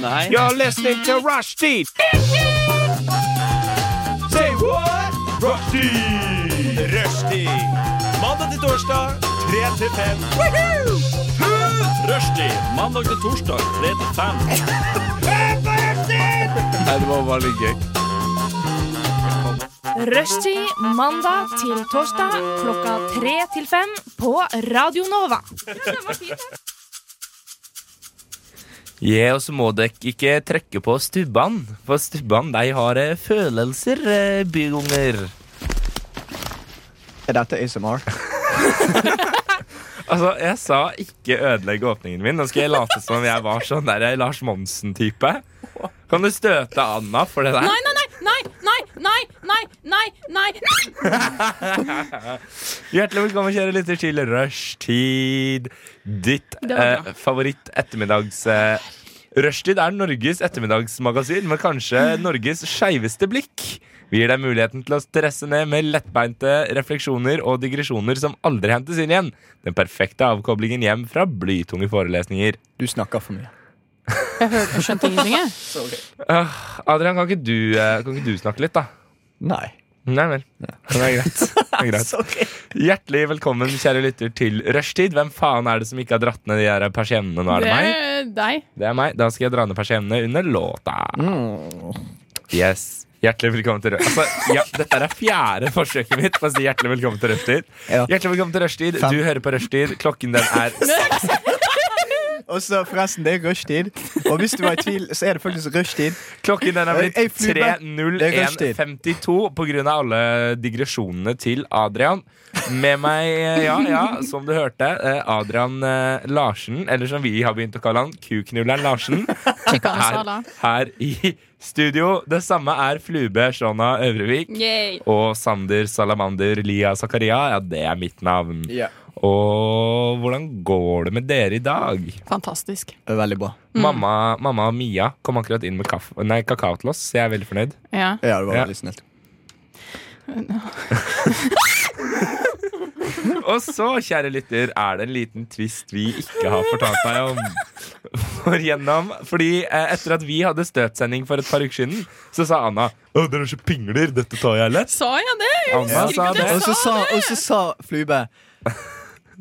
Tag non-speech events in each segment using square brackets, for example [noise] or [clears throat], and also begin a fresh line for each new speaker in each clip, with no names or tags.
Nei.
You're listening to Rushdie! Say what? Rushdie! Rushdie! Mandag til torsdag, 3 til 5. Rushdie! Mandag til torsdag, 3 til 5.
Nei, det var bare litt gøy.
Rushtid mandag til torsdag klokka tre til fem på Radio Nova.
Ja, og så må dere ikke trekke på stubbene, for stubbene de har eh, følelser, eh, byunger.
Er dette ASMR?
[laughs] Altså, jeg sa ikke ødelegge åpningen min. Nå skal jeg late som om jeg var sånn der jeg er Lars Monsen-type. Kan du støte Anna for det der?
Nei, nei, nei, nei, nei, nei, nei, nei, nei!
Hjertelig velkommen, kjære lytter, til Rushtid. Ditt
Det var
eh, favoritt-ettermiddags... Eh, Rushtid er Norges ettermiddagsmagasin med kanskje Norges skeiveste blikk. Vi gir deg muligheten til å stresse ned med lettbeinte refleksjoner og digresjoner som aldri hentes inn igjen. Den perfekte avkoblingen hjem fra blytunge forelesninger.
Du snakker for mye.
Jeg, hørte, jeg skjønte ingenting, jeg.
Adrian, kan ikke du, eh, kan ikke du snakke litt, da?
Nei.
Nei vel. Det er
[laughs]
greit. Det er greit.
Sorry.
Hjertelig velkommen, kjære lytter, til rushtid. Hvem faen er det som ikke har dratt ned de her persiennene nå? Er det meg?
Eh, deg.
Det er meg. Da skal jeg dra ned persiennene under låta.
Mm.
Yes. Hjertelig velkommen til Rushtid. Altså, ja, dette er fjerde forsøket mitt på å si hjertelig velkommen til Rushtid.
Ja.
Hjertelig velkommen til Rushtid.
Fem.
Du hører på Rushtid. Klokken den er
Og så forresten, det er rushtid. Og hvis du var i tvil, så er det faktisk rushtid.
Klokken den er
Jeg- jeg
blitt
flyr back. Det er rushtid.
3.01,52 på grunn av alle digresjonene til Adrian. Med meg, eh, ja, ja, som du hørte, eh, Adrian eh, Larsen, eller som vi har begynt å kalle han, Kuknulleren Larsen,
Sala.
her, her i studio. Det samme er Flube Shona Øvrevik.
Yay.
Og Sander Salamander Lia Zakaria. Ja, det er mitt navn. Og hvordan går det med dere i dag?
Fantastisk.
Det er Veldig bra.
Mamma, mamma og Mia kom akkurat inn med kaffe, nei, kakao til oss, så jeg er veldig fornøyd.
Ja.
Ja, det var
Ja.
veldig snilt.
Og så, kjære lytter, er det en liten twist vi ikke har fortalt deg om. For gjennom, fordi eh, etter at vi hadde støtsending for et par uker siden, så sa Anna Å, dere er så pingler, dette tar jeg lett.
Sa jeg det?
Anna
husker
sa
ikke
det.
Og så sa, og så sa Flube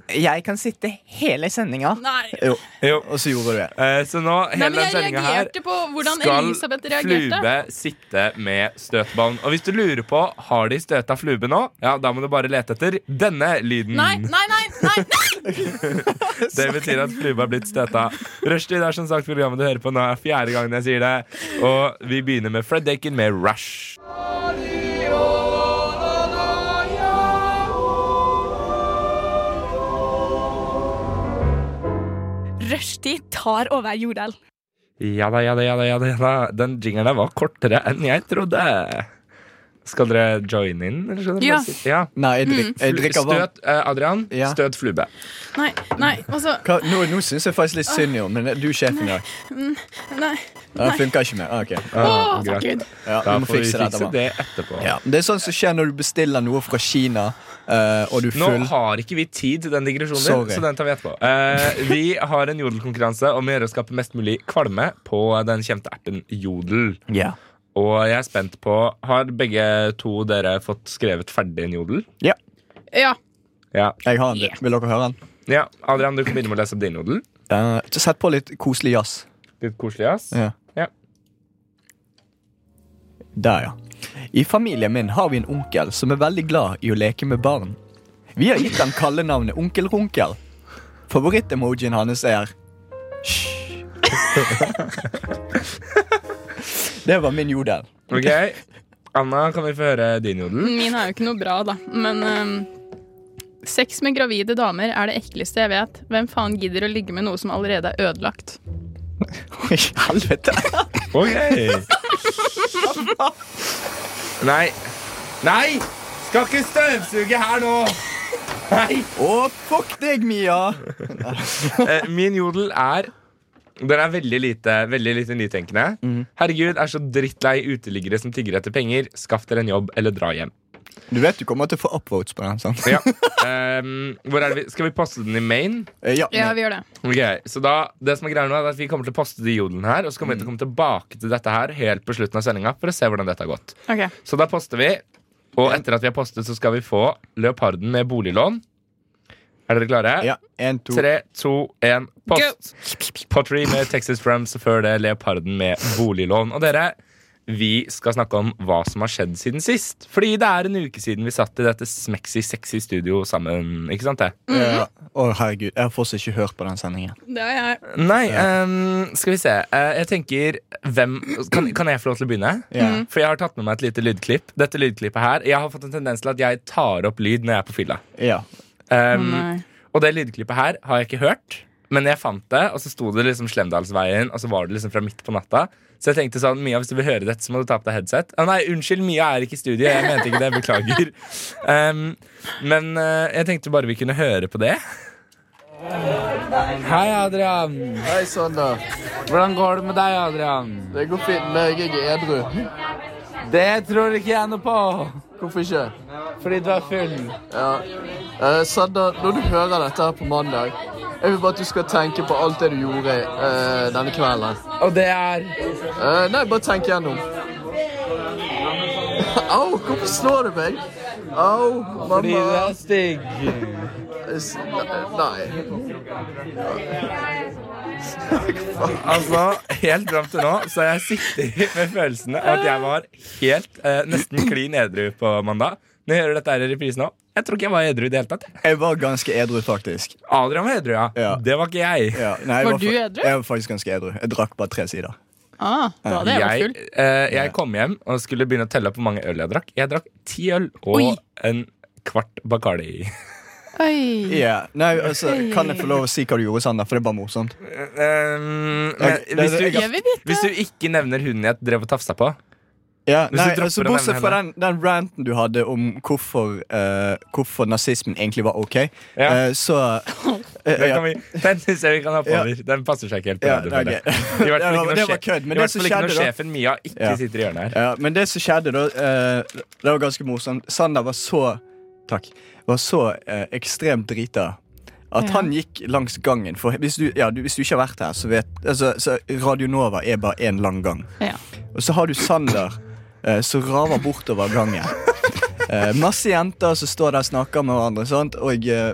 Jeg kan sitte hele sendinga.
Nei.
Jo,
Jo.
og så gjorde du det.
Eh, så nå, hele
Nei, men
den
jeg
sendinga her
reagerte på hvordan
skal
Elisabeth reagerte.
Flube sitte med støtballen. Og hvis du lurer på har de støta Flube nå, ja, da må du bare lete etter denne lyden.
Nei, nei, nei, nei, nei!
Det betyr at Flube har blitt støta. Rushtid er som sagt programmet du hører på nå. er fjerde gangen jeg sier det. Og vi begynner med Fred Dakin med Rush.
Rushtid tar over Jordal.
Ja da, ja da, ja da. ja da, ja da. Den jingeren der var kortere enn jeg trodde. Skal dere join in? Eller skal dere
Ja.
bare sitte? ja.
Nei, jeg, drik, jeg drikker varmt.
Støt eh, Adrian.
Ja.
Støt Flube.
Nei, nei, altså
Hva- Nå, nå syns jeg faktisk litt synd i henne, men du er sjefen i dag.
Nei.
Det funker ikke mer. Ah, ok.
Ah,
Åh, takk
greit.
Gud.
Ja,
Da
vi må
får vi
fikse dette.
fikse
mann.
det etterpå.
Ja. Det er sånn som skjer når du bestiller noe fra Kina, eh, og du er
Nå
full.
har ikke vi tid til den digresjonen, din,
Sorry.
så den tar vi etterpå. Eh, vi har en jodelkonkurranse om å gjøre å skape mest mulig kvalme på den kjente appen Jodel.
Ja.
Og jeg er spent på Har begge to dere fått skrevet ferdig en jodel?
Ja.
Ja.
Jeg har en. Vil dere høre den?
ja. Adrian, du kan begynne med å lese opp din jodel.
Eh, så sett på litt koselig jazz.
Litt koselig, ass.
Ja.
Ja.
Der, ja. I familien min har vi en onkel som er veldig glad i å leke med barn. Vi har gitt ham kallenavnet Onkel Runkel. Favorittemojien hans er [laughs] Hysj. Det var min jodel.
Ok. Anna, kan vi få høre din jodel?
Min er jo ikke noe bra, da. Men ehm, sex med gravide damer er det ekleste jeg vet. Hvem faen gidder å ligge med noe som allerede er ødelagt?
Oi, helvete.
Ok. Nei. Nei! Skal ikke støvsuge her nå! Nei!
Å, fuck deg, Mia.
Eh, Min jodel er Den er veldig lite, veldig lite nytenkende. Herregud, er så drittlei uteliggere som tigger etter penger. Skaff dere en jobb eller dra hjem.
Du vet du kommer til å få upvotes på den. sant?
Ja. Ehm, hvor er det vi? Skal vi poste den i Maine?
Eh, Ja,
Ja, vi gjør det.
Ok, så da, det som er greia nå er at Vi kommer til å poste de jodelen her, og så kommer vi til å komme tilbake til dette her helt på slutten av sendinga for å se hvordan dette har gått.
Ok.
Så da poster vi, og etter at vi har postet, så skal vi få Leoparden med boliglån. Er dere klare?
ja. En, to
Tre, to, én, post. Pottery med Texas Frams, og før det Leoparden med boliglån. Og dere, vi skal snakke om hva som har skjedd siden sist. Fordi det er en uke siden vi satt i dette smexy, sexy studio sammen. Ikke sant det?
Ja. Å, herregud. Jeg har fortsatt ikke hørt på den sendingen.
Det har jeg.
Nei, ehm, skal vi se. Eh, jeg tenker hvem, kan, kan jeg få lov til å begynne?
Ja.
For jeg har tatt med meg et lite lydklipp. Dette lydklippet her Jeg har fått en tendens til at jeg tar opp lyd når jeg er på fylla.
Ja.
Ehm,
Mm. Nei.
og det lydklippet her har jeg ikke hørt, men jeg fant det, og så sto det liksom Slemdalsveien, og så var det liksom fra midt på natta. Så jeg tenkte sånn, Mia, hvis du vil høre dette, så må du ta på deg headset. Å nei, unnskyld, Mia er ikke i studio. Jeg mente ikke det. Beklager. Ehm, men eh, jeg tenkte bare vi kunne høre på det. Hei, Adrian.
Hei, Sander.
Hvordan går det med deg, Adrian?
Det går fint med deg. Jeg er edru.
Det tror ikke jeg noe på,
Hvorfor ikke?
fordi du er full.
Ja. Eh, Sander, når du hører dette her på mandag, jeg vil bare at du skal tenke på alt det du gjorde eh, denne kvelden.
Og det er
Eh, nei, bare tenk gjennom. Au, hvorfor slår du meg? Au, mamma.
stygg.
S- Nei.
Altså, helt fram til nå så har jeg sittet med følelsen av at jeg var helt eh, nesten klin edru på mandag. Når jeg hører dette her i reprise nå, jeg tror ikke jeg var edru i det hele tatt. jeg.
Jeg var ganske edru, faktisk.
Adrian var edru, ja.
Ja.
Det var ikke jeg.
Ja. Nei, jeg
Var
fa-
du edru?
Jeg var faktisk ganske edru. Jeg drakk bare tre sider.
Ah, da hadde jeg vært
Jeg,
full.
eh, jeg kom hjem og skulle begynne å telle opp hvor mange øl jeg drakk. Jeg drakk ti øl og
Oi.
en kvart Bacardi.
Oi.
Ja. Nei, altså, Kan jeg få lov å si hva du gjorde, Sander? For det er bare morsomt. eh,
Um, men
Jeg-
hvis du,
jeg-
Jeg vil vite.
hvis du ikke nevner hunden jeg drev og tafsa på
Ja,
du
nei,
dropper
altså,
å nevne
Bortsett fra den, den ranten du hadde om hvorfor, eh, hvorfor nazismen egentlig var ok,
Ja.
eh, så eh,
Den,
ja.
kan vi, den synes jeg vi [laughs] kan ha på over. Den passer seg ikke helt. på
Ja,
radio,
nei,
føler jeg.
ok.
I hvert fall ikke
Det var-
når,
det var
sjef,
kødd, men
i
det
hvert
som
fall ikke når
skjedde da-
sjefen Mia ikke
Ja.
sitter i hjørnet her.
Ja, men det som skjedde, da eh, Det var ganske morsomt. Sander var så Takk. Var så eh, ekstremt drita at
Ja.
han gikk langs gangen. For hvis du, ja, du, hvis du ikke har vært her, så vet altså, så Radio Nova er bare én lang gang.
Ja.
Og så har du Sander eh, som raver bortover
[laughs]
gangen. Eh, masse jenter som står der og snakker med hverandre, sant? og eh,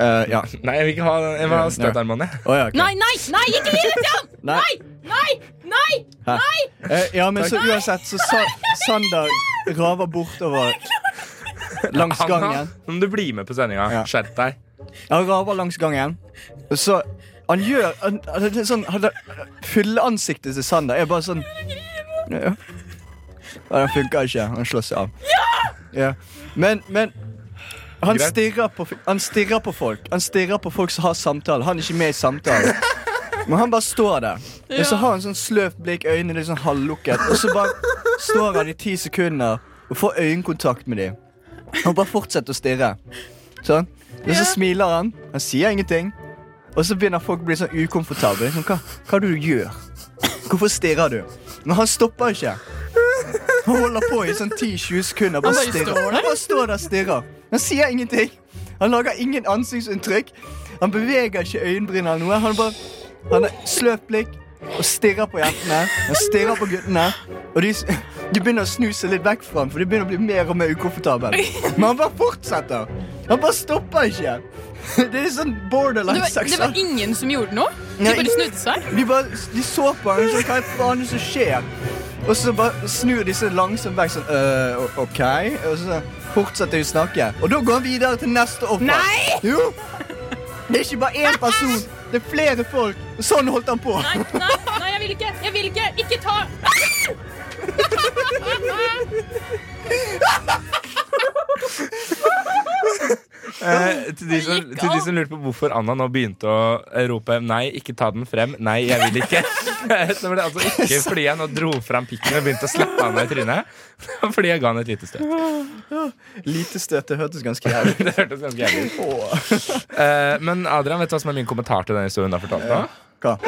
eh, Ja.
Nei, jeg vil ikke ha, jeg vil ha
Ja,
støtarmene.
Å, ja, ok.
Nei, nei, nei, ikke Lillian!
Nei!
Nei! Nei!
Hæ? Eh, ja, men så uansett, så sa Sander raver bortover langs
Anna,
gangen.
om du blir med på sendinga,
Ja.
skjerp deg.
Han raver langs gangen. Og så Han gjør han, han, det er sånn, han, Fylleansiktet til Sander er bare sånn ja. Nei, den funker ikke. Han slår seg av. Ja. Men, men han
Greit.
stirrer, på, han stirrer på folk Han stirrer på folk som har samtale. Han er ikke med i samtalen. Men han bare står der. Og så har han sånn sløvt blikk, øynene litt sånn halvlukket. Og så bare står han i ti sekunder og får øyekontakt med dem. Han bare fortsetter å stirre. Sånn. Og så smiler han. Han sier ingenting. Og så begynner folk å bli sånn ukomfortable. Liksom, hva, hva er det du gjør? Hvorfor stirrer du? Men han stopper ikke. Han holder på i sånn 10-20 sekunder. Bare
Han bare
stirrer.
står der.
Han bare står der og stirrer. Han sier ingenting. Han lager ingen ansiktsinntrykk. Han beveger ikke øyenbrynene eller noe. Han bare han har sløvt blikk og stirrer på jentene. Han stirrer på guttene. Og de, s- de begynner å snu seg litt vekk fra ham, for de begynner å bli mer og mer ukomfortable. Men han bare fortsetter. Han bare stopper ikke. [laughs] Det er sånn
Det
borderline
var, det var
seksuelt.
ingen som gjorde noe? De
Nei.
bare snudde seg?
De, bare, de så på ham sånn, hva i faen er det som skjer? Og så bare snur de seg langsomt vekk sånn, øh, o- ok? Og så fortsetter de å snakke. Og da går han videre til neste offer.
Nei!
Jo! Det er ikke bare én person, det er flere folk. Og sånn holdt han på.
Nei, nei, nei, jeg vil ikke! Jeg vil ikke! Ikke ta!
Eh, til, de som,
gikk
til de
an.
som lurte på hvorfor Anna nå begynte å rope 'nei, ikke ta den frem', 'nei, jeg vil ikke', [laughs] så var det altså ikke fordi jeg nå dro fram pikken og begynte å slappe Anna i trynet. Det var Fordi jeg ga henne et lite støt. [laughs]
Lite støt, det hørtes ganske jævlig ut.
Det hørtes ganske jævlig ut. Eh, men Adrian, vet du hva som er min kommentar til den historien du har fortalt nå?
Hva?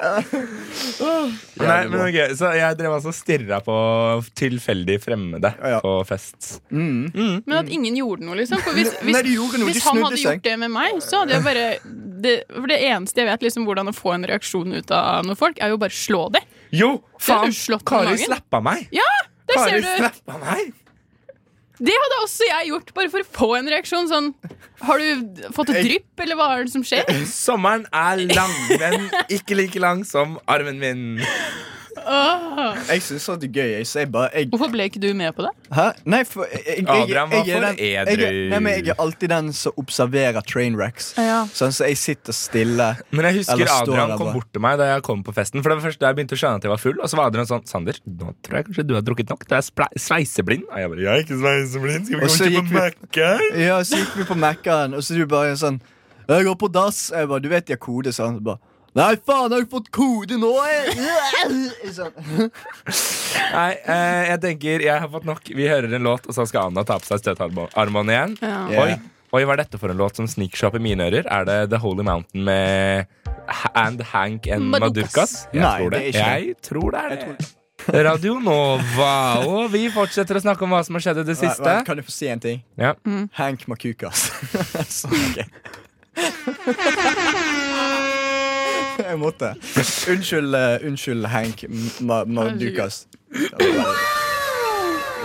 Eh, nei,
det
men
går.
ok, Så jeg drev altså og stirra på tilfeldig fremmede
ja.
på fest.
Men at ingen gjorde noe, liksom. For hvis,
[laughs]
hvis,
Nei, de gjorde noe, de
hvis han
snudde
hadde
seg.
gjort det med meg, så hadde jeg bare det, For det eneste jeg vet liksom hvordan å få en reaksjon ut av noen folk, er jo bare slå det.
Jo, faen!
du slått på
Kari
magen?
slappa meg!
Ja, der
Kari
ser du!
slappa meg!
Det hadde også jeg gjort, bare for å få en reaksjon. Sånn Har du fått et drypp, eller hva er det som skjer?
Sommeren er lang, men ikke like lang som armen min.
Jeg syns sånt er gøy. Jeg, så jeg bare jeg,
Hvorfor ble ikke du med på det?
Hæ? Nei, for jeg, jeg, jeg,
Abraham var
jeg
for
er den-
edru.
Jeg, er- nei, men jeg er alltid den som observerer train wrecks.
Ja.
Sånn, så jeg sitter stille.
Men jeg
Eller
husker
står
Adrian
der
kom
bare.
bort til meg da jeg kom på festen. For det var først da jeg begynte å skjønne at jeg var full. Og så var Adrian sånn Sander, nå tror jeg kanskje du har drukket nok. Du er sple- sveiseblind. Og jeg bare Jeg er ikke sveiseblind. Skal
Og så
vi gå
gikk
ikke på Mækkern?
Ja, så gikk vi på Mækkern, og så er du bare sånn Jeg går på dass. Jeg bare, du vet de har kode, sånn. Så bare, Nei, faen, har jeg fått kode nå? eh?» Jeg- Sånn.
Nei, eh, jeg tenker jeg har fått nok. Vi hører en låt, og så skal Anna ta på seg støtarmbåndet igjen.
Ja.
Ja.
Oi, oi, hva er dette for en låt som sniksjapp i mine ører? Er det The Holy Mountain med Ha- And Hank and Madurkas?
Madurkas.
Jeg
Nei,
tror det.
det er ikke det.
Jeg tror det er det. Radio Nova, og vi fortsetter å snakke om hva Mm. som har skjedd i det siste.
Kan jeg få si en ting?
Ja.
Hank Makukas. [laughs] Så, ok. jeg måtte. Unnskyld, eh, unnskyld Hank M- Ma- Mardukas. Ja.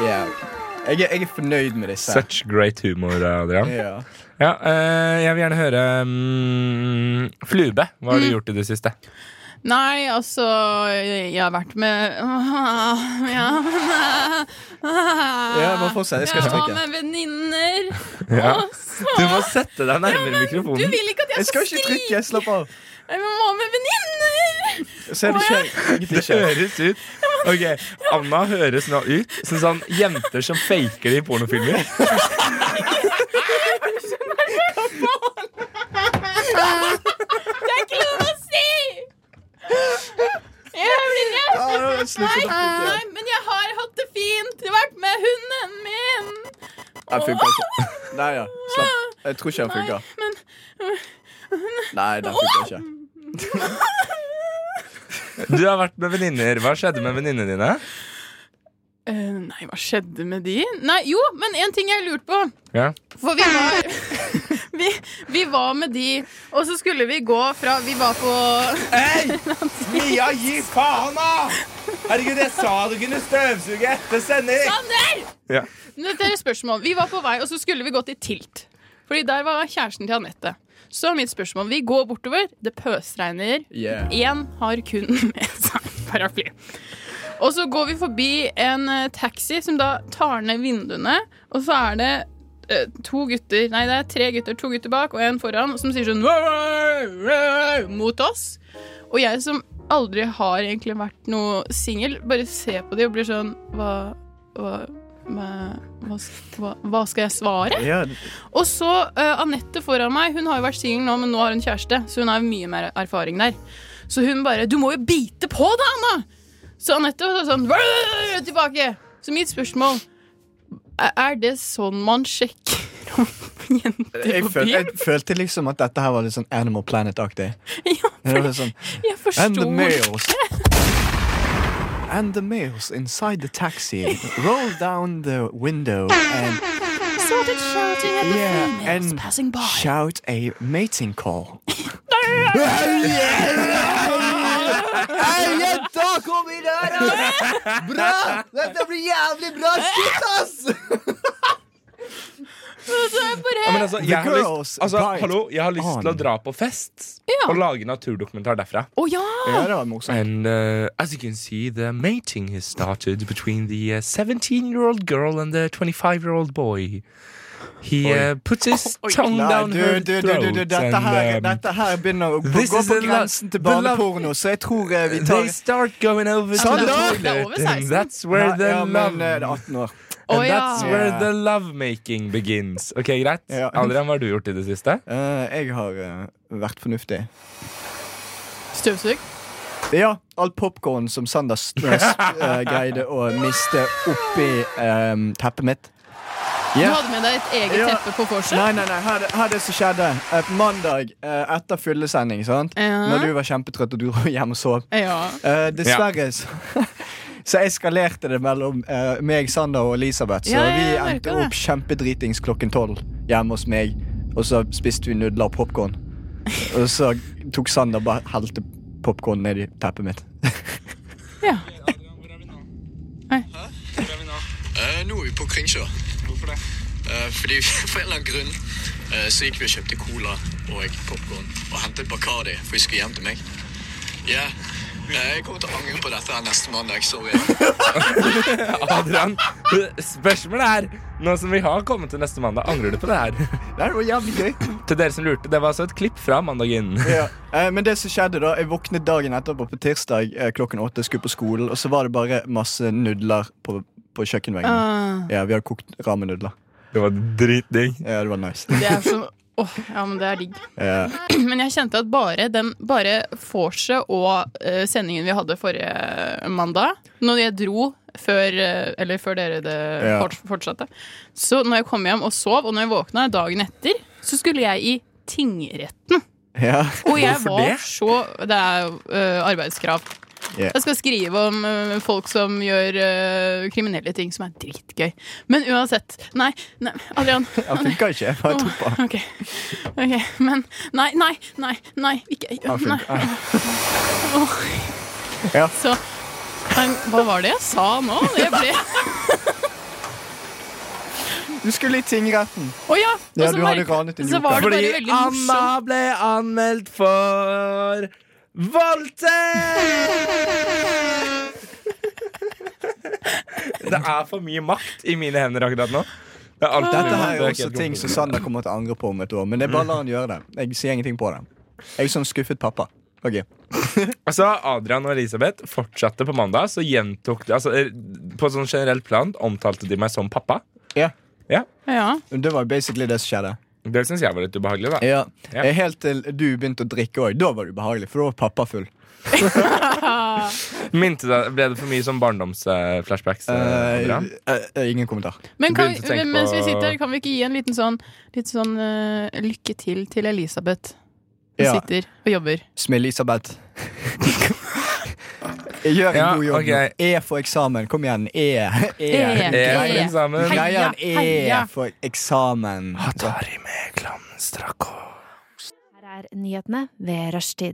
Jeg, er- jeg er fornøyd med disse.
Such great humor, Adrian.
Ja.
Ja, eh, jeg vil gjerne høre mm, Flube, hva har du gjort i det siste?
Nei, altså Jeg har vært med [laughs] Ja,
Ja, bare fortsett, jeg skal ikke
Jeg
trykke.
var med venninner.
Ja.
Og så
Du må sette deg nærmere
Du
mikrofonen.
vil ikke at
Jeg skal
jeg skal
ikke
skrike!
trykke, jeg slapp av.
Jeg var med venninner!
Ser du ikke? Egentlig
Det
ikke.
høres ut Ok, Anna høres nå ut som sånn jenter som faker det i pornofilmer.
Det er ikke lov å si! Jeg blir redd!
Ja, nå slutter det.
Nei, men jeg har hatt det fint. Jeg har vært med hunden min.
Nei, funker ikke. [laughs] Nei, ja. Slapp. Jeg tror ikke den funker.
Men
Nei, den funker ikke.
Du har vært med venninner. Hva skjedde med venninnene dine?
Eh, Nei, hva skjedde med de? Nei, jo, men en ting jeg lurte på.
Ja.
For vi var, [laughs] vi, vi var med de, og så skulle vi gå fra Vi var på
Mia, gi faen, da! Herregud, jeg sa du kunne støvsuge etter sending!
Sander!
Ja.
Dette er et spørsmål. Vi var på vei, og så skulle vi gå til Tilt. Fordi der var kjæresten til Anette. Så mitt spørsmål. Vi går bortover, det pøsregner.
Yeah.
Én har kun [laughs] med seg paraply. Og så går vi forbi en eh, taxi som da tar ned vinduene, og så er det eh, to gutter, nei det er tre gutter, to gutter bak og en foran, som sier sånn mot oss. Og jeg som aldri har egentlig vært noe singel, bare ser på de og blir sånn hva, hva, hva, hva, hva, hva skal jeg svare?
Ja,
Og så eh, Anette foran meg, hun har jo vært singel nå, men nå har hun kjæreste, så hun har mye mer erfaring der. Så hun bare 'Du må jo bite på, da, Anna!' Så Anette var sånn «Brrr!» tilbake. Så mitt spørsmål er, er det sånn man sjekker [laughs] om jenter [laughs]
jeg,
på
føl, jeg
byen?
følte liksom at dette her var litt sånn Animal Planet-aktig.
Ja,
Det var
for
litt sånn
jeg
And the
forsto
males. And the males inside the taxi roll down the window and
started shouting at the
Yeah,
females
and
passing by.
shout a mating
[laughs]
call. Jenta, kom inn her! ass! Bra! Dette blir jævlig bra! Shit, ass!
Og så er jeg bare
Ja, men altså, jeg har lyst,
girls
altså,
bite
hallo, jeg har lyst til å
on.
dra på fest
Ja.
og lage naturdokumentar derfra.
Å ja!
Ja, det var morsomt.
And uh, as you can see, the mating has started between the uh, 17-year-old girl and the 25-year-old boy. He uh, puts his tongue
Nei,
down
du,
her
du,
throat
du, du, du, dette, her,
and um,
dette her begynner å gå
this
gå
is
på
the lo-
grensen til
the love-
barneporno, så jeg tror eh, vi tar
they start going over to
Sander!
the
Altså, Det er over
toilet,
16.
and that's where
Nei,
the
ja,
love
men, eh, det er 18 år.
sånn. Å
And
ja.
that's where
Ja.
the lovemaking begins. Ok, greit.
Ja.
Adrian, hva har du gjort i det siste?
Eh, jeg har eh, vært fornuftig.
Støvsug.
Ja, all popkorn som Sander s- eh, s- eh, greide å miste oppi eh, teppet mitt.
Du
Ja.
hadde med deg et eget
Ja.
teppe på vorset.
Nei, nei, nei, her, her er det som skjedde. Eh, På mandag eh, etter fyllesending, sant?
Ja.
Når du var kjempetrøtt og du dro hjem og sov.
Ja.
Eh, dessverre så, [laughs] så eskalerte det mellom eh, meg, Sander og Elisabeth. Så
Ja, ja,
vi
jeg merker
endte
det.
opp kjempedritings klokken tolv hjemme hos meg. Og så spiste vi nudler og popkorn. Og så tok Sander og bare helte popkorn ned i teppet mitt. [laughs]
ja.
nå er vi på Kringsjå. Hvorfor det? fordi [laughs] For en eller annen grunn eh, så gikk vi og kjøpte cola og popkorn og hentet Bacardi, for vi skulle hjem til meg. Ja, eh, Jeg kommer til å angre på dette her neste mandag. Sorry.
Adrian, spørsmålet er Nå som vi har kommet til neste mandag, angrer du på det her? [laughs]
Nei, det var jævlig gøy.
[laughs]
Til dere som lurte, det var altså et klipp fra mandagen.
Ja. Eh, men det som skjedde da, jeg våknet dagen etterpå på tirsdag eh, klokken åtte, skulle på skolen, og så var det bare masse nudler på, på kjøkkenveggen.
Ah,
Ja, vi hadde kokt ramenudler.
Det var dritdigg.
Ja, det var nice. [laughs] Eh,
det er så Åh, ja, men det er digg.
Ja.
[clears throat] Men jeg kjente at bare, den, bare vorset og eh, sendingen vi hadde forrige mandag Når jeg dro før, eh, eller før dere det
Ja.
forts- fortsatte Så når jeg kom hjem og sov, og når jeg våkna dagen etter Så skulle jeg i tingretten
Ja.
Og jeg
Hvorfor
var
det?
så Det er jo eh, arbeidskrav
Ja.
Jeg skal skrive om eh, folk som gjør eh, kriminelle ting som er dritgøy Men uansett, nei, nei Adrian
Han funka ikke. Jeg bare tok på han.
[laughs] Ok, ok, men Nei, nei, nei, nei, ikke
Han
nei.
funka.
Så nei, Hva var det jeg sa nå? Jeg ble Å
Du skulle i tingretten.
ja! og
Ja,
så
du hadde
merket-
ranet en
Så var det
Fordi
bare veldig
Anna
morsomt.
ble anmeldt for voldtekt! Det er for mye makt i mine hender akkurat nå. Det er alltid
Dette her er også ting som Sander kommer til å angre på om et år, men det er bare la han gjøre det. Jeg sier ingenting på det. Jeg er sånn skuffet pappa. Ok.
Altså, Adrian og Elisabeth fortsatte på mandag, så gjentok de altså, eh, På sånn generelt plan omtalte de meg som pappa.
Ja.
Ja.
Det var basically det som skjedde.
Det syns jeg var litt ubehagelig, da.
Ja.
Ja.
Helt til du begynte å drikke òg. Da var det ubehagelig, for da var pappa full.
Minte deg, Ble det for mye sånn barndomsflashbacks?
Eh,
Adrian?
eh, eh, ingen kommentar.
Men kan,
Begynte å tenke
mens vi
på-
sitter her, kan vi ikke gi en liten sånn, litt sånn eh, lykke til til Elisabeth? Hun
Ja.
sitter og jobber.
Smil-Elisabeth. Gjør en
Ja,
god jobb. nå.
ok.
E for eksamen. Kom igjen. E. E.
E.
Eh,
Heia.
alle sammen.
Hei.
Greia en E
Heia.
for eksamen.
Atari med glanstrakk og
Her er nyhetene ved rushtid.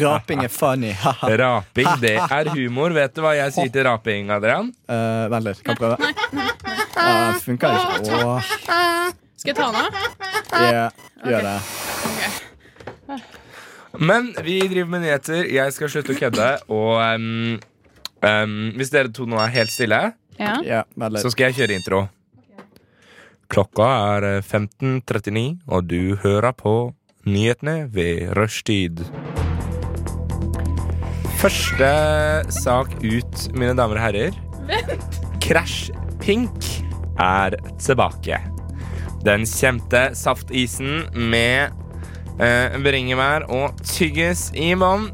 Raping er funny. Haha.
Raping, det er humor. Vet du hva jeg sier til raping, Adrian?
Eh, vent litt, kan jeg prøve? Uh, funka det ikke? Åh,
Skal jeg ta den av?
ja, gjør det.
Men vi driver med nyheter. Jeg skal slutte å kødde. Og em, em, hvis dere to nå er helt stille,
Ja.
Ja, vent
så
litt.
skal jeg kjøre intro. Klokka er eh, 15.39, og du hører på nyhetene ved rushtid. Første sak ut, mine damer og herrer. Crash Pink er tilbake. Den kjente saftisen med eh, bringebær og tyggis i bånn,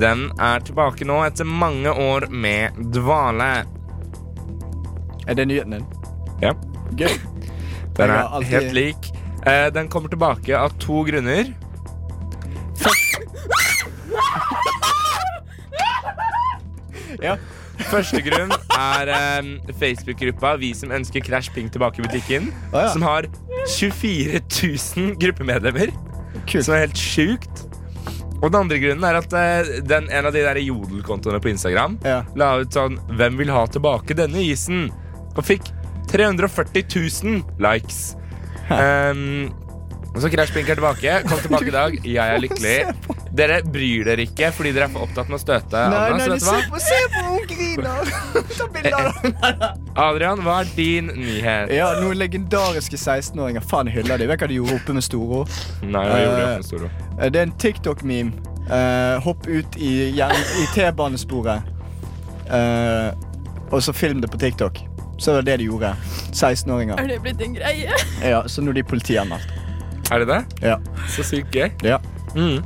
den er tilbake nå etter mange år med dvale.
Er det nyheten din?
Ja.
Gøy.
Den
Jeg
er
har alltid-
helt lik. Eh, den kommer tilbake av to grunner.
[laughs] Ja.
Første grunn er eh, Facebook-gruppa Vi som ønsker Crash Pink tilbake i butikken.
Å, ja.
Som har 24 000 gruppemedlemmer.
Kult.
Som er helt sjukt. Og den andre grunnen er at eh, den, en av de der jodelkontoene på Instagram
Ja.
la ut sånn 'Hvem vil ha tilbake denne isen?' og fikk 340 000 likes. Um, så Crash Pink er tilbake. Kom tilbake i
[laughs]
dag. Jeg er lykkelig. Dere bryr dere ikke fordi dere er for opptatt med å støte.
Nei,
Anna,
nei,
så
nei,
vet du hva?
se på, se på, hun griner! Ta bilde av det.
Adrian, hva er din nyhet?
Ja, noen legendariske 16-åringer. Faen, jeg hyller de. Vet du hva de gjorde oppe med store ord?
Nei, hva gjorde
Eh,
jeg på Storo?
Eh, Det er en TikTok-meme. Eh, hopp ut i, jern- i T-banesporet. eh, og så film det på TikTok. Så det var det de gjorde. 16-åringer.
Er det blitt en greie?
Ja, så nå er de politianmeldt.
Er det det?
Ja.
Så sykt gøy.
ja.
Mm.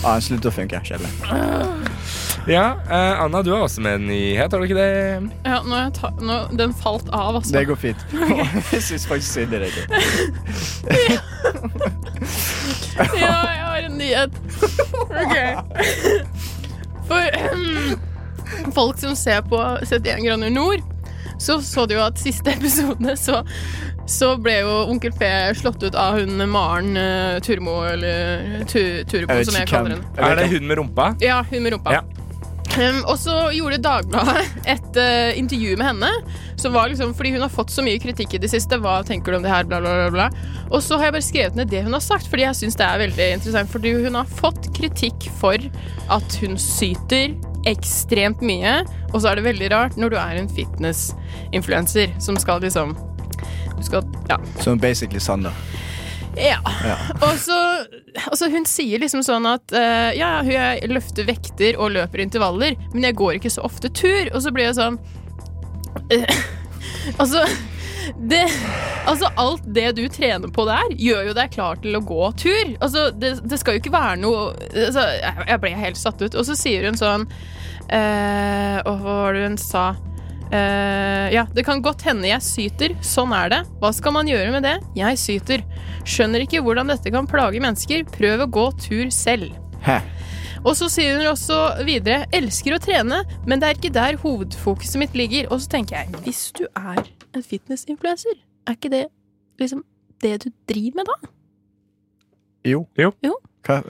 Ah, den slutter å funke. Kjedelig.
Ja, eh, Anna, du er også med en nyhet, har du ikke det?
Ja, nå er jeg ta nå, Den falt av, altså.
Det går
[laughs]
fint. [laughs] Jeg syns faktisk synd i deg.
Sånn Ja, jeg har en nyhet. Ok. For [clears throat] folk som ser på 71 grader nord, så så du jo at siste episode så, så ble jo Onkel P slått ut av hun Maren eh, Turmo, eller tu, Turbo,
Jeg vet
som jeg
ikke hvem.
kaller henne.
Jeg
Er
vet
det
ikke.
hun med rumpa?
Ja, hun med rumpa.
Ja.
Um, og så gjorde Dagbladet et eh, intervju med henne. Som var liksom, fordi hun har fått så mye kritikk i det siste. Hva tenker du om det her? Bla, bla, bla, bla. Og så har jeg bare skrevet ned det hun har sagt, fordi jeg syns det er veldig interessant. Fordi hun har fått kritikk for at hun syter ekstremt mye. Og så er det veldig rart når du er en fitness-influenser som skal liksom Du skal Ja.
Som Sånn basically Sander.
Ja. [laughs] Og så altså Hun sier liksom sånn at eh, ja, hun- jeg løfter vekter og løper intervaller, men jeg går ikke så ofte tur. Og så blir jeg sånn eh, [laughs] Altså det, altså Alt det du trener på der, gjør jo deg klar til å gå tur. Altså Det, det skal jo ikke være noe altså, jeg- Jeg ble helt satt ut. Og så sier hun sånn eh, Og hva var det hun sa? Eh, ja, det kan godt hende jeg syter. Sånn er det. Hva skal man gjøre med det? Jeg syter. Skjønner ikke hvordan dette kan plage mennesker. Prøv å gå tur selv.
Hæ?
Og så sier hun også videre elsker å trene, men det er ikke der hovedfokuset mitt ligger. Og så tenker jeg, hvis du er en fitnessinfluenser, er ikke det liksom det du driver med da?
Jo.
Jo.
Jo.
Hva?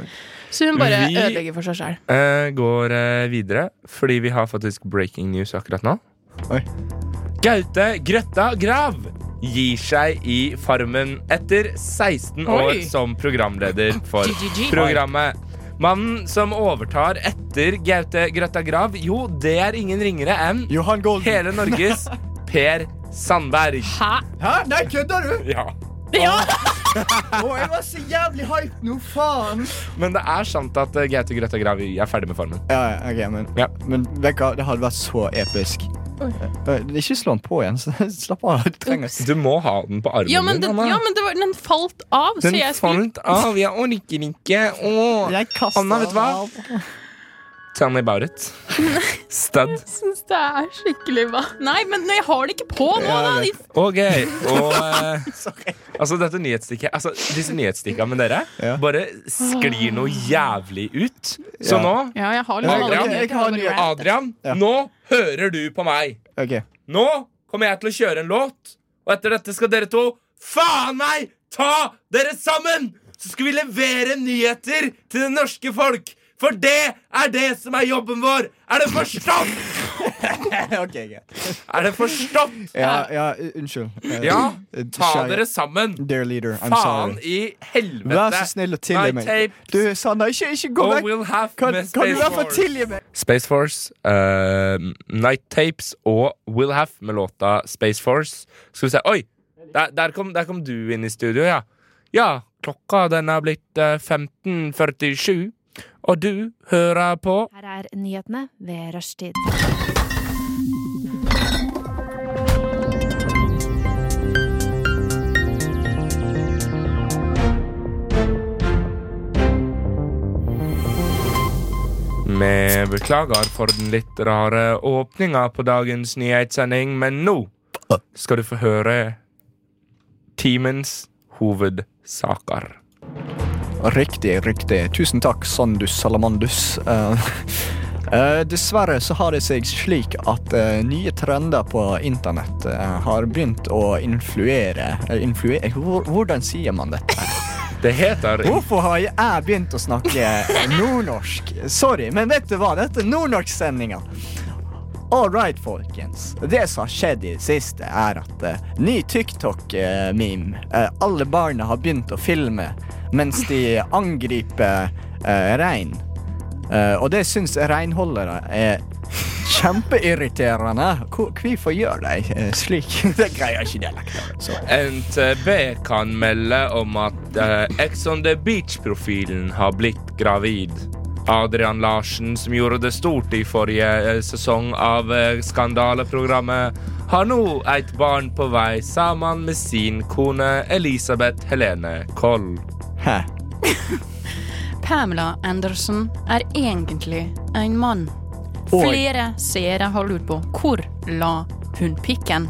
Så hun bare
Vi-
ødelegger for seg sjøl.
Eh, går eh, videre, fordi vi har faktisk breaking news akkurat nå.
Oi.
Gaute Grøtta Grav gir seg i Farmen etter 16 år
Oi.
som programleder for programmet. Mannen som overtar etter Gaute Grøtta Grav, jo, det er ingen ringere enn
Johan Golden.
hele Norges
[laughs]
Per Sandberg.
Hæ?
Hæ? Nei, kødder du?
Ja.
Å, jeg var så jævlig hyped nå, faen!
Men det er sant at eh, Gaute Grøtta Grav er ferdig med Farmen.
Ja, ja, ok, men,
Ja.
men vet du hva, det hadde vært så episk.
Oi.
Eh, Ikke slå den på igjen. [laughs] så Slapp av. Du trenger
Du må ha den på armen
Ja, men,
din.
den,
Anna.
ja, men det var, den falt av, så
Den
jeg skulle
falt av. Jeg orker ikke. Åh.
Jeg kaster
Anna, vet du hva?
av.
Tell me about it. Stud.
Syns det er skikkelig hva Nei, men jeg har det ikke på nå,
Ja,
da!
jeg
De-
Ok. Og eh, altså, dette nyhetsstikket Altså, disse nyhetsstikka med dere
Ja.
bare sklir noe jævlig ut. Så
Ja.
nå,
Ja, jeg har
Ja,
liksom
ja,
alle
jeg
nyheter,
har
jeg bare
nyheter.
rant.
Adrian,
Ja.
nå hører du på meg.
Ok,
Nå kommer jeg til å kjøre en låt, og etter dette skal dere to faen meg ta dere sammen! Så skal vi levere nyheter til det norske folk. For det er det som er jobben vår. Er det forstått?
[laughs] ok, greit.
Er det forstått?
Ja, ja, u- unnskyld. Eh,
Ja,
eh,
ta
kjære-
dere sammen.
Dear leader, I'm
Faen
sorry.
i helvete.
Vær så snill og tilgi
My
meg.
tape.
Du, Sander, ikke, ikke gå
Oh,
vekk.
we'll have
Kan,
med
kan du i
Space
hvert fall
Force.
tilgi meg?
Space Force, eh, Night Tapes og Will Have med låta Space Force. Skal vi se Oi! Der, der, kom, der kom du inn i studio, ja. Ja, klokka den er blitt eh, 15.47, og du hører på
Her er nyhetene ved rushtid.
Vi beklager for den litt rare åpninga på dagens nyhetssending, men nå skal du få høre timens hovedsaker.
Riktig, riktig. Tusen takk, Sandus Salamandus. Eh, [laughs] eh, dessverre så har det seg slik at eh, nye trender på internett eh, har begynt å influere eh, influe- eh, hvor- Hvordan sier man dette?
Det heter
Hvorfor har jeg jeg begynt å snakke eh, nordnorsk? Sorry, men vet du hva? Dette er nordnorsksendinga. All right, folkens. Det som har skjedd i det siste, er at eh, ny TikTok-meme eh, Alle barna har begynt å filme mens de angriper eh, rein. Eh, og det syns reinholdere er kjempeirriterende. Hvor- Hvorfor gjør de eh, slik? [laughs] Det greier ikke dialekter. Så.
NTB kan melde om at eh, Ex on the Beach-profilen har blitt gravid. Adrian Larsen, som gjorde det stort i forrige eh, sesong av eh, Skandaleprogrammet, har nå et barn på vei sammen med sin kone Elisabeth Helene Koll.
Hæ?
Pamela Andersen er egentlig en mann.
Oi.
Flere seere har lurt på hvor la hun pikken.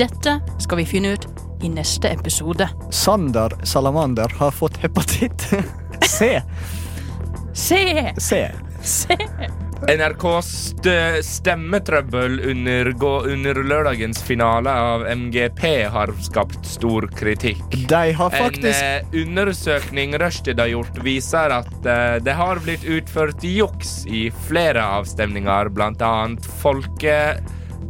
Dette skal vi finne ut i neste episode.
Sander Salamander har fått hepatitt [laughs] C.
Se!
C.
Se!
NRKs st- eh, stemmetrøbbel under, gå- under lørdagens finale av MGP har skapt stor kritikk.
De har faktisk
En eh, undersøkning Rushdie har gjort, viser at eh, det har blitt utført juks i flere avstemninger, bl.a.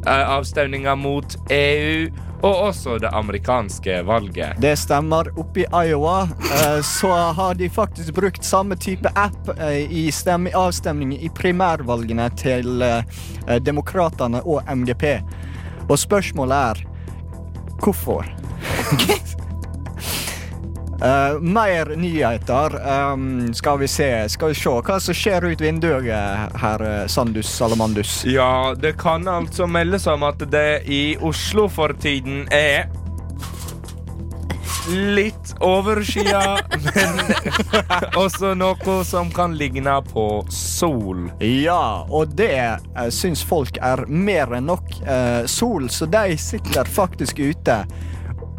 folkeavstemninger eh, mot EU og også det amerikanske valget.
Det stemmer. Oppe i Iowa eh, så har de faktisk brukt samme type app eh, i stemme, avstemning i primærvalgene til eh, eh, Demokratene og MGP. Og spørsmålet er hvorfor?
[laughs]
Eh, mer nyheter. Ehm, skal vi se Skal vi se hva som skjer ut vinduet her, eh, Sandus Salamandus.
Ja, det kan altså meldes om at det i Oslo for tiden er Litt overskya, [laughs] men også noe som kan ligne på sol.
Ja, og det eh, syns folk er mer enn nok eh, sol, så de sitter faktisk ute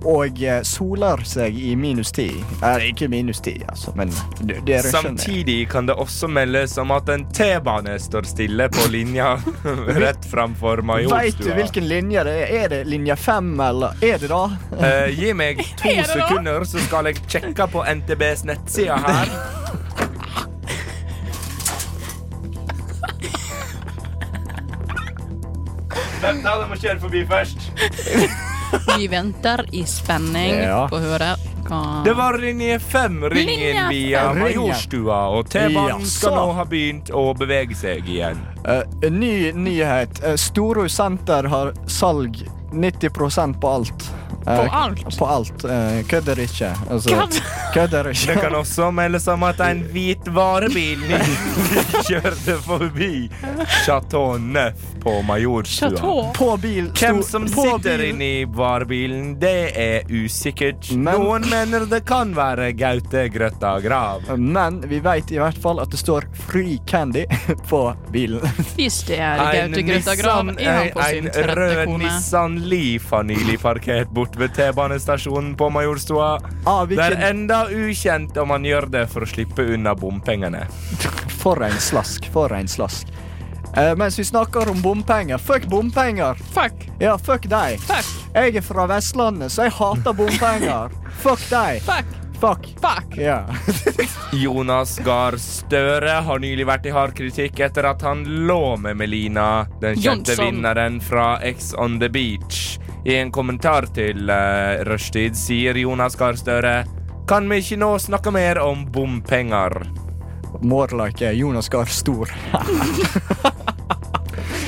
og eh, soler seg i minus ti. Eh, ikke minus ti, altså, men d- dere skjønner.
Samtidig kan det også meldes om at en T-bane står stille på linja [laughs] rett framfor
Veit du
Majorstua.
hvilken linje det er? Er det linje fem, eller er det da? [laughs]
Eh, gi meg to
Er det da?
sekunder, så skal jeg sjekke på NTBs nettside her. Vent da, du må kjøre forbi først.
Vi venter i spenning
Ja.
på å høre hva
Det var linje fem. Ring inn
Linje
via
fem.
Majorstua, og T-banen skal
Jaså.
nå ha begynt å bevege seg igjen.
Eh, en ny nyhet. Uh, Storhus senter har salg 90 på alt. Eh,
På alt?
På alt. Eh, kødder ikke. Altså,
Kødd-
[laughs]
kødder
Det
ikke.
kan også meldes om at en hvit varebil
[laughs]
nylig kjørte forbi Chateau Neuf på Majorstua.
Chateau.
På bil
Hvem
sto-
som
på
sitter
bil-
inni varebilen, det er usikkert.
Men-
Noen mener det kan være Gaute Grøtta Grav.
Men vi vet i hvert fall at det står Free Candy [laughs] på bilen. [laughs]
Hvis det er
En,
Gaute Grøtta Grav,
Nissan-
er han på
en
sin rette
rød
kone.
Nissan Leaf har nylig parkert bort ved T-banestasjonen på Majorstua.
Ah,
Det er
hvilken,
enda ukjent om han gjør det for å slippe unna bompengene.
for en slask, for en slask. Eh, mens vi snakker om bompenger. Fuck bompenger!
Fuck!
Ja, fuck deg.
Fuck!
Jeg er fra Vestlandet, så jeg hater
[laughs]
bompenger. fuck deg.
Fuck!
Fuck.
Fuck!
Ja. [laughs]
Jonas Gahr Støre har nylig vært i hard kritikk etter at han lå med Melina, den kjente
Jonsson.
vinneren fra X on the Beach. I en kommentar til uh, Rushtid sier Jonas Gahr Støre Kan vi ikke nå snakke mer om bompenger?
More like eh, Jonas Gahr Stor.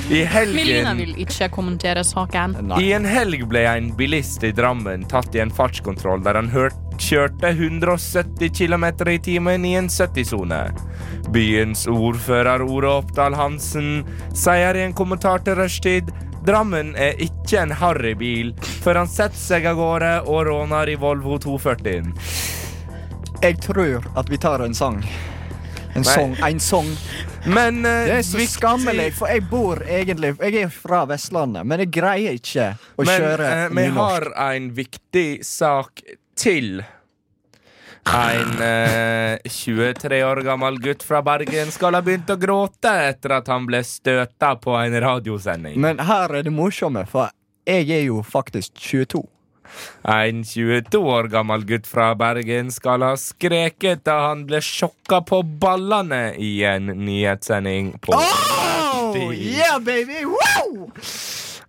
I
Melina
helgen
vil ikke kommentere saken.
I
Nei.
en helg ble en bilist i Drammen tatt i en fartskontroll der han hør- kjørte 170 km i timen i en 70-sone. Byens ordfører Ore Oppdal Hansen sier i en kommentar til Rushtid Drammen er ikke en harrybil før han setter seg av gårde og råner i Volvo 240.
Jeg tror at vi tar en sang. En sang. En
[laughs]
sang.
Men eh,
Det er så
viktig-
skammelig, for jeg bor egentlig Jeg er fra Vestlandet, men jeg greier ikke å
Men
kjøre
eh, vi har en viktig sak til. En eh, 23 år gammel gutt fra Bergen skal ha begynt å gråte etter at han ble støta på en radiosending.
Men her er det morsomme, for jeg er jo faktisk 22.
En 22 år gammel gutt fra Bergen skal ha skreket da han ble sjokka på ballene i en nyhetssending på
Oh, yeah, baby! Wow!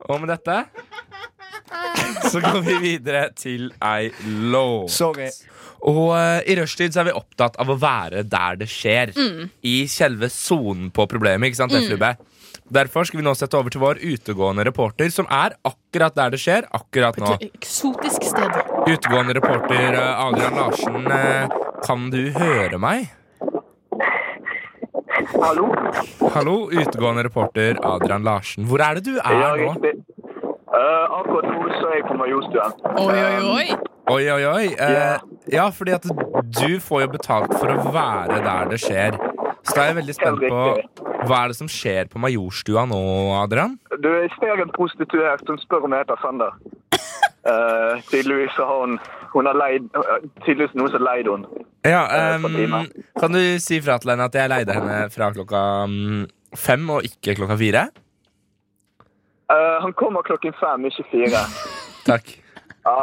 Og med dette så går vi videre til ei låt.
Sorry.
Og eh, i rushtid så er vi opptatt av å være der det skjer. I selve sonen på problemet. ikke sant, Flubbe? Derfor skal vi nå sette over til vår utegående reporter, som er akkurat der det skjer. akkurat nå.
Et eksotisk sted.
Utegående reporter eh, Adrian Larsen, eh, kan du høre meg?
Hallo?
Hallo, utegående reporter Adrian Larsen. Hvor er det du
Ja,
er nå?
riktig. Eh, akkurat nå så er jeg på Majorstuen.
Oi, oi, oi!
Oi, oi, oi. Eh, ja, fordi at du får jo betalt for å være der det skjer. Så da er jeg veldig spent på hva er det som skjer på Majorstua nå, Adrian?
Eh, Du, jeg ser en prostituert som spør om jeg heter
[laughs]
Sander. Eh, tydeligvis så har hun, hun har leid, eh, tydeligvis noen som leid hun.
Ja,
Eh,
ehm, kan du si fra til henne at jeg leide henne fra klokka mm, fem og ikke klokka fire?
Eh, han kommer klokken fem, ikke fire.
Takk.
Ja,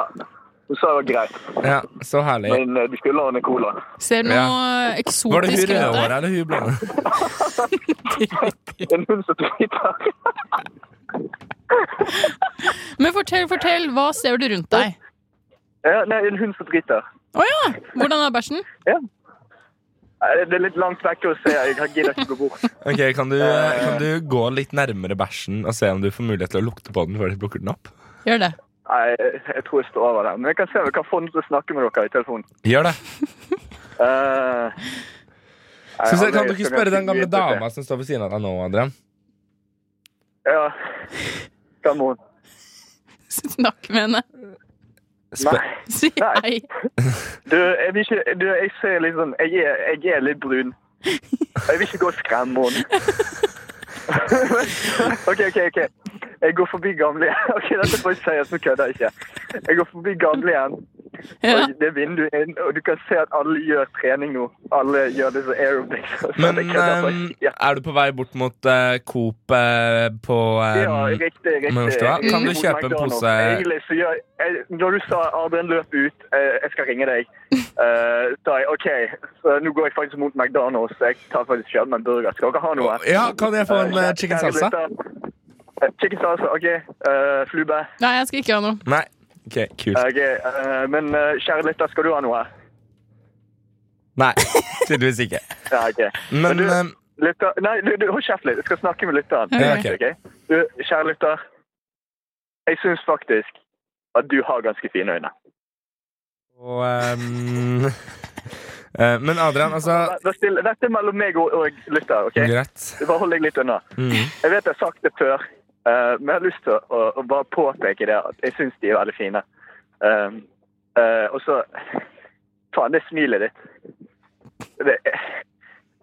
hun sa det var greit,
Ja, så herlig.
men eh, du skulle ha en cola.
Ser du noe
Var det hun
eksotisk ut der?
rødhåra eller hun blonde?
En hund som driter.
Men fortell, fortell, hva ser du rundt deg?
Ja, nei, en hund som driter.
Å ja! Hvordan er bæsjen?
Nei, Det det er litt langt vekk å se, jeg gidder ikke gå bort.
Ok, kan du, kan du gå litt nærmere bæsjen og se om du får mulighet til å lukte på den før du plukker den opp?
Gjør det. [laughs]
Nei, jeg jeg tror jeg står over der. Men jeg kan se om jeg kan få noen til å snakke med dere i telefonen.
Gjør det.
Eh, nei,
Så,
han
se,
er
kan du
så
ikke spørre den
ganske
gamle
videte.
dama som står ved siden av deg nå, Adrian?
Ja. Da må hun.
Snakk med henne.
Spør-
Nei.
Si
Nei.
hei.
Du, jeg vil ikke Du, jeg ser litt sånn Jeg er, jeg er litt brun. Jeg vil ikke gå og skremme henne. [laughs] OK, OK. ok. Jeg går forbi gamle [laughs] Ok, dette får jeg seriøst, nå kødder jeg ikke. Jeg går forbi gamle igjen,
Ja.
og det er vinduet inn, og du kan se at alle gjør trening nå. Alle gjør det som aerobics. og sånn.
Men
[laughs] Jeg kødder
ehm,
faktisk ikke.
er du på vei bort mot eh, Coop eh, på ehm,
Ja, riktig. riktig.
Majorstua. Kan du
Mot
kjøpe en
McDonald's.
pose-
Egentlig så gjør jeg, Når du sa Adrian løp ut, eh, jeg skal ringe deg, eh, sa jeg OK, så nå går jeg faktisk mot McDonald's. Jeg tar faktisk kjøpt meg en burger. Skal dere ha noe?
Ja, kan jeg få en eh,
Eh,
chicken
kjære
salsa?
lytter. Eh, Chicken salsa, OK. Eh, flube.
Nei, jeg skal ikke ha noe.
Nei. Ok, kult.
Ok, eh, men eh, kjære lytter, skal du ha noe?
Nei, tydeligvis ikke.
Ja, OK.
Men
du,
ehm,
lytter, nei, du, du, hold kjeft litt. Jeg skal snakke med lytteren.
ja,
Ok.
ok.
Ok? Du, kjære lytter. Jeg syns faktisk at du har ganske fine øyne.
Og ehm, [laughs] eh, Men Adrian, altså
Vær stille. Dette er mellom meg og, og lytter. ok?
Greit.
Bare hold deg litt unna.
Mm.
Jeg vet jeg har sagt det før, eh, men jeg har lyst til å, å bare påpeke det. at Jeg syns de er veldig fine. Um, eh, og så Faen, det smilet ditt. Det,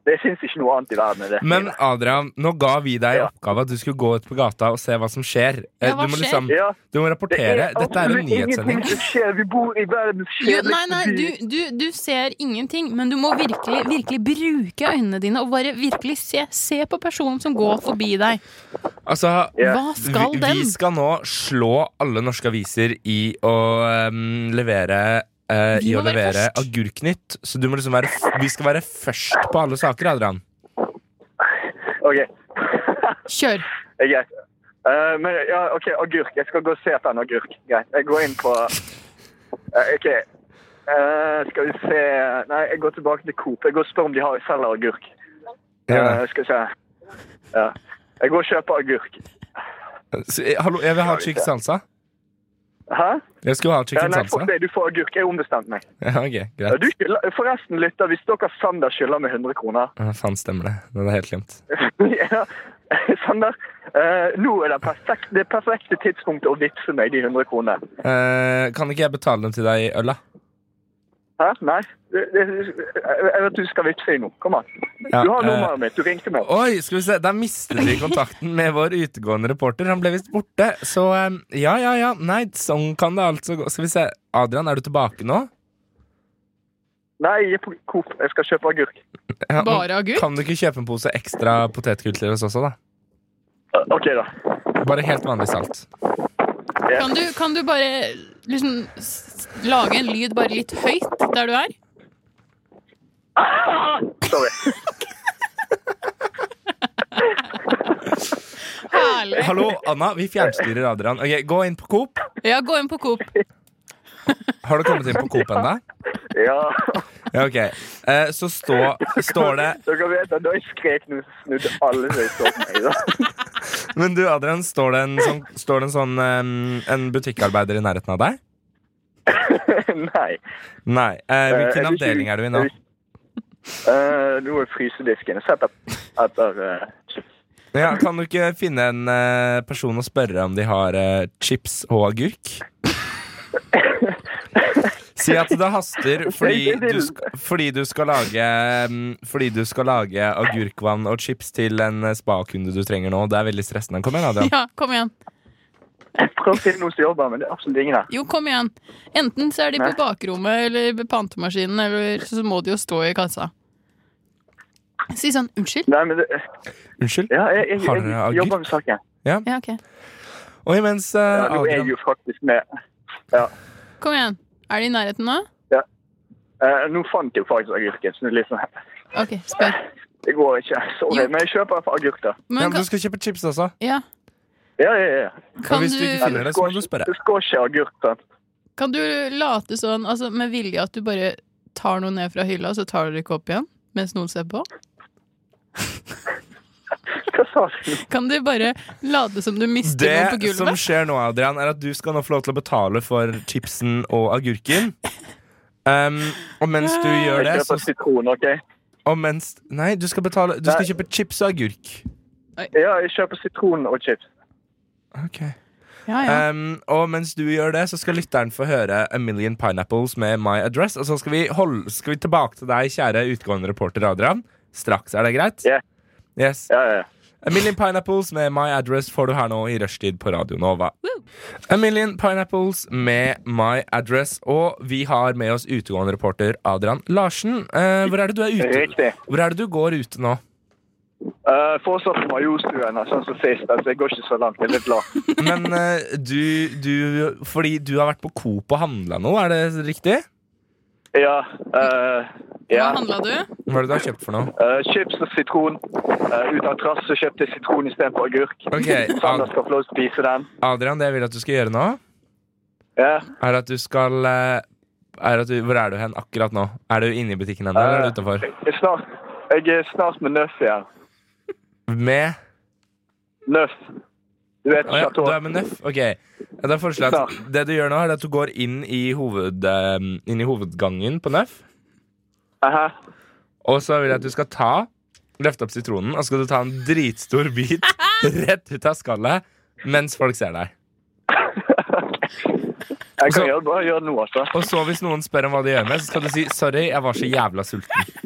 det fins ikke noe annet i verden enn det.
Men
smilet.
Adrian, nå ga vi deg i
Ja.
oppgave at du skulle gå ut på gata og se hva som skjer. Eh,
Ja, hva
Du må
skjer?
liksom
ja,
Du må rapportere. Dette er en
absolutt
nyhetssending.
ingenting som skjer. Vi bor i verdens
Jo, nei,
kjedeligste
nei, du, du, du ser ingenting, men du må virkelig, virkelig bruke øynene dine og bare virkelig se, se på personen som går forbi deg.
Altså,
Ja.
Hva skal
vi,
den?
vi skal nå slå alle norske aviser i å ehm, levere eh, I
Vi må
å
være
levere
først.
Agurknytt. Så du må liksom være f vi skal være først på alle saker, Adrian.
Ok,
Kjør.
det er greit. Eh, men ja, OK, agurk. Jeg skal gå og se etter en agurk. Greit. Jeg går inn på Eh, OK. Eh, skal vi se Nei, jeg går tilbake til Coop. Jeg går og spør om de har selger agurk. Eh, skal vi se. Ja. Jeg går og kjøper agurk.
Så, eh, hallo, jeg vil ha chicken salsa.
Hæ?
Jeg skulle ha
Ja,
chicken
nei, fuck
salsa.
det, du får agurk. Jeg ombestemte meg.
Ja, ok,
Ja,
greit.
Du skylder, forresten, lytter, hvis dere Sander skylder meg 100 kroner [laughs]
Ja, faen, stemmer det. Det er helt glemt.
ja. Sander, eh, nå er det, perfekt, det perfekte tidspunktet å vippse meg de 100 kronene.
Eh, kan ikke jeg betale dem til deg i øl, da?
Hæ? Nei? Det- det- Jeg vet du skal vippse i nå. Kom an.
Ja,
Du har
eh,
nummeret mitt. Du ringte meg.
Oi, skal vi se, der mistet vi kontakten med vår utegående reporter. Han ble visst borte. Så eh, ja, ja, ja. Nei, sånn kan det altså gå. Skal vi se. Adrian, er du tilbake nå?
Nei, jeg er på Coop. Jeg skal kjøpe agurk.
Ja, nå-
Bare agurk?
Kan du ikke kjøpe en pose ekstra potetgull til oss også, da?
Eh, OK, da.
Bare helt vanlig salt.
Kan du, kan du bare liksom s- lage en lyd bare litt høyt der du er?
Sorry.
Herlig.
Hallo, Anna. Vi fjernstyrer Adrian. Ok, Gå inn på Coop.
Ja, gå inn på Coop.
Har du kommet inn på Coop ennå?
Ja.
Ja, ok. Eh, så stå, står det
Dere vet at da jeg skrek nå, så snudde alle seg så på meg. Da. [laughs]
Men du, Adrian, står det en sånn, står det en, sånn eh, en butikkarbeider i nærheten av deg?
Nei.
Nei. Eh,
Eh, jeg
hvilken
vil ikke-
avdeling er du i nå?
jeg vil- Eh, nå er frysedisken. Jeg setter etter eh, chips.
Ja, kan du ikke finne en eh, person og spørre om de har eh, chips og
[laughs]
agurk? Si at det haster fordi du, sk- fordi du skal lage mm, Fordi du skal lage agurkvann og chips til en eh, spakunde du trenger nå. Det er veldig stressende. Kom igjen, Adrian.
Ja, kom igjen.
Jeg prøver eh, å finne noen som jobber, men det er absolutt ingen her.
Jo, kom igjen. Enten så er de på
Nei.
bakrommet eller ved pantemaskinen, eller så må de jo stå i kassa. Si sånn 'unnskyld'.
Nei, men det,
Unnskyld?
ja, jeg, jeg,
Har
jeg,
dere agurk?
jobber med saken.
Ja, ok.
Og imens eh,
Ja, nå er jeg
Adrian
jo faktisk med. Ja.
Kom igjen. Er de i nærheten nå?
Eh, nå fant jeg jo faktisk agurken, så det, er litt sånn-
OK, spør.
det går ikke. Sorry,
Jo.
men jeg kjøper iallfall agurk, da.
ja,
Men
men
kan,
Du skal kjøpe chips også.
ja,
Ja, ja, ja.
kan,
hvis du ikke
du,
finner-
Nei,
det, så
går
må du
ikke-
spørre.
Det skal ikke agurk, sant?
kan du late sånn, altså med vilje, at du bare tar noe ned fra hylla, og så tar du det ikke opp igjen? Mens noen ser på?
Hva sa
[laughs]
du?
Kan du bare late som du mister noe på
Det som
gulvet?
skjer nå, Adrian, er at du skal nå få lov til å betale for chipsen og agurken. Um, og mens du gjør det,
Jeg
så
kjøper sitron, OK?
og mens, Nei, du skal betale Du skal
Nei.
kjøpe chips og agurk.
Ja, jeg kjøper sitron og chips.
Ja, ja.
Um, og mens du gjør det, så skal lytteren få høre A Million Pineapples med My Address. Og så skal vi, holde, skal vi tilbake til deg, kjære utgående reporter Adrian. Straks, er det greit?
Ja.
Yes.
Ja, ja.
A Million Pineapples med My Address får du her nå i rushtid på Radio Nova. A Million Pineapples med My Address. Og vi har med oss utegående reporter Adrian Larsen. Eh, hvor er det du er ute?
Riktig.
Hvor er det du går ute nå?
Uh, Fortsatt på Majorstuen, her, sånn som sist. Altså, jeg går ikke så langt. Jeg er litt glad.
Men eh, du, du Fordi du har vært på Coop og handla nå, er det riktig?
Ja. eh,
Hva
ja.
handla du?
Hva er det du har kjøpt for noe?
Eh, chips og sitron. Eh, ut av trass så kjøpte jeg sitron istedenfor agurk. [laughs]
Ok,
Sander
Ad-
skal få lov til å spise den.
Adrian, det jeg vil at du skal gjøre nå,
Ja.
er at du skal eh, er at du, Hvor er du hen akkurat nå? Er du inne i butikken ennå, eller er du utafor?
Jeg er snart, jeg er snart med Nøff igjen.
Med
Nøff. Du vet
Å ja, du
Chateau.
er med Nøff? Ok. Ja, Da foreslår jeg at det du gjør nå, er at du går inn i, hoved, eh, inn i hovedgangen på Nøff.
Aha.
Og så vil jeg at du skal ta løfte opp sitronen, og så skal du ta en dritstor
[laughs]
bit rett ut av skallet mens folk ser deg.
Jeg kan
Så-
gjøre, bare gjøre det nå, altså.
Og så hvis noen spør om hva de gjør med, så skal du si 'sorry, jeg var så jævla sulten'.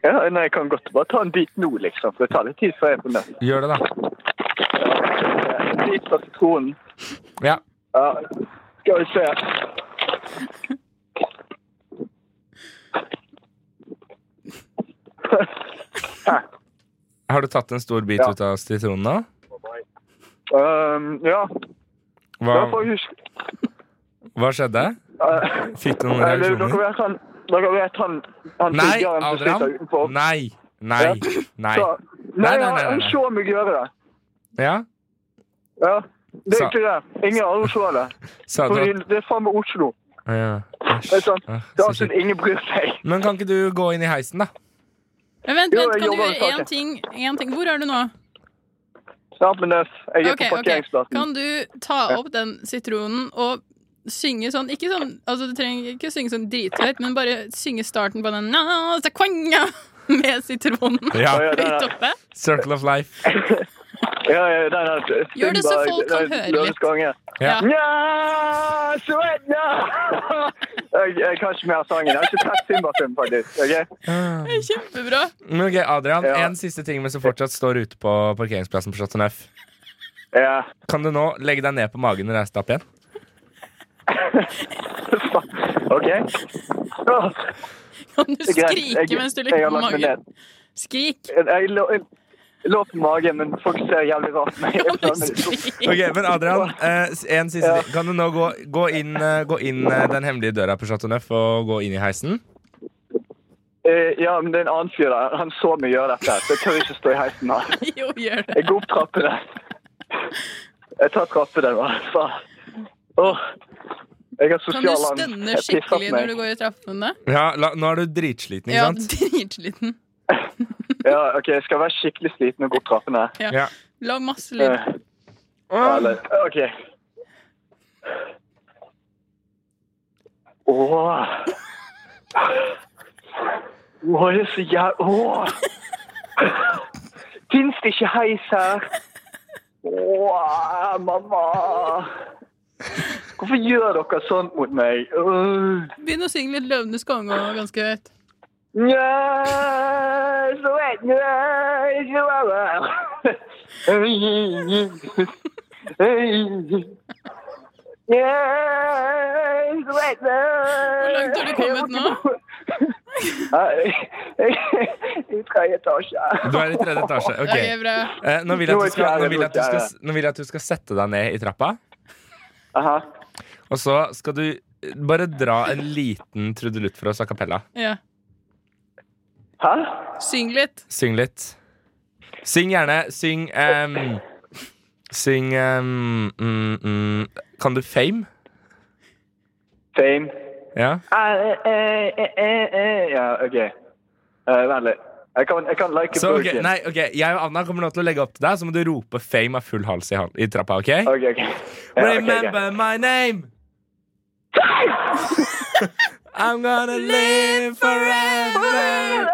Ja, nei, jeg kan godt bare ta en bit nå, liksom. For det tar litt tid før jeg er på Nøff.
Gjør det, da.
En bit fra sitronen.
Ja.
Ja, skal vi se.
Har du tatt en stor bit
Ja.
ut av sitronen nå?
Ehm, ja,
Hva,
da får jeg huske.
hva skjedde?
Eh,
Fikk du noen
eller, dere
reaksjoner?
vet han, dere vet han, han
liksom- Nei,
tiggeren som sitter
Adrian.
utenfor.
Nei. Nei. Nei.
Så, nei,
Nei, nei, nei,
han- han
nei.
så meg gjøre det.
Ja?
Ja, det er
Så-
ikke det. Ingen andre så det.
Sa du
Fordi
at
det er faen meg Oslo.
Å, ja. Æsj.
Det er sånn,
Åh,
det er
så
sånn
kjipt.
ingen bryr seg.
Men kan ikke du gå inn i heisen, da?
Men vent,
Jo,
vent,
jeg
kan du
jobber med
gjøre én
saken.
ting, én ting? Hvor er du nå?
Snart med nøff. eh, Jeg er
Ok,
på
ok.
parkeringsplassen.
Kan du ta opp den sitronen og synge sånn Ikke sånn, altså Du trenger ikke synge sånn drithøyt, men bare synge starten på den na, sa, kwanga, med sitronen
Ja.
Ja, ja, det
høyt
er-
oppe.
Circle of life.
Ja, ja, den er
Gjør det så
Sundberg,
folk kan
den er
høre litt.
Lørdagsskonge.
Ja.
Ja.
Nja, Sven, nja! [laughs] Jeg, jeg kan ikke mer sangen. Jeg har ikke sett Simba-film, faktisk. ok?
Kjempebra.
Men ok, Adrian,
Ja.
en siste ting mens du fortsatt står ute på parkeringsplassen på Chateau Neuf.
Ja. [laughs]
Kan du nå legge deg ned på magen og reise deg opp igjen?
OK? Åh,
Kan du
det er greit. Jeg-
skrike mens du ligger
jeg har
på
lagt meg
magen?
ned.
Skrik. [laughs]
Jeg lå, jeg lå på magen, men folk ser jævlig
[laughs]
rart på meg. Jeg
Kan du
skjønner ikke.
skrike?
Ok, men Adrian, eh, en siste
Ja.
ting. Kan du nå gå, gå inn, eh, gå inn eh, den hemmelige døra på Chateau Neuf og gå inn i heisen?
Eh, Ja, men det er en annen fyr der. Han så meg gjøre dette, så jeg tør ikke stå i heisen her.
Jo, gjør det.
Jeg går opp trappene. Jeg tar trappene, da. Faen. Åh. Jeg har
Kan du
sosial angst.
stønne
Jeg pisser på
skikkelig
meg.
når du går i trappene?
Ja, la, Nå er du dritsliten, ikke
[laughs] Ja,
sant?
dritsliten.
Ja, ok, jeg skal være skikkelig sliten og gå opp trappene.
Ja.
Ja. Lag masse lyd.
Eh, ja, eller, ok. Åh. Åh, det er så jæv... Åh! Fins det ikke heis her? Åh, mamma! Hvorfor gjør dere sånn mot meg? Øh.
Begynn å synge litt Løvenes konge og ganske høyt.
Njø, så vet du, så er det. Njø, så vet du.
Hvor langt har du kommet nå?
Eh, Nei, I tredje etasje.
Du er i tredje etasje.
Det
Ok.
er bra.
Eh, nå, vil jeg at du skal, nå, vil jeg at du
Nå er jeg
skal, nå vil jeg at du skal sette deg ned i trappa,
Aha.
og så skal du eh, bare dra en liten trudelutt for oss a cappella.
Ja.
Hæ?
Syng litt.
Syng litt. Syng gjerne. Syng ehm, Syng ehm, mm, mm. Kan du Fame?
Fame.
Ja.
Ah, eh, eh, eh, eh, eh. Ja, ok. Eh, Vent litt. Jeg kan, jeg kan like
Så, ok,
boken.
nei, ok, Jeg og Anna kommer nå til å legge opp til deg, så må du rope Fame av full hals i, hal- i trappa. ok?
Ok, ok. Ja, ok, ok.
Remember my name! [laughs] I'm gonna live forever.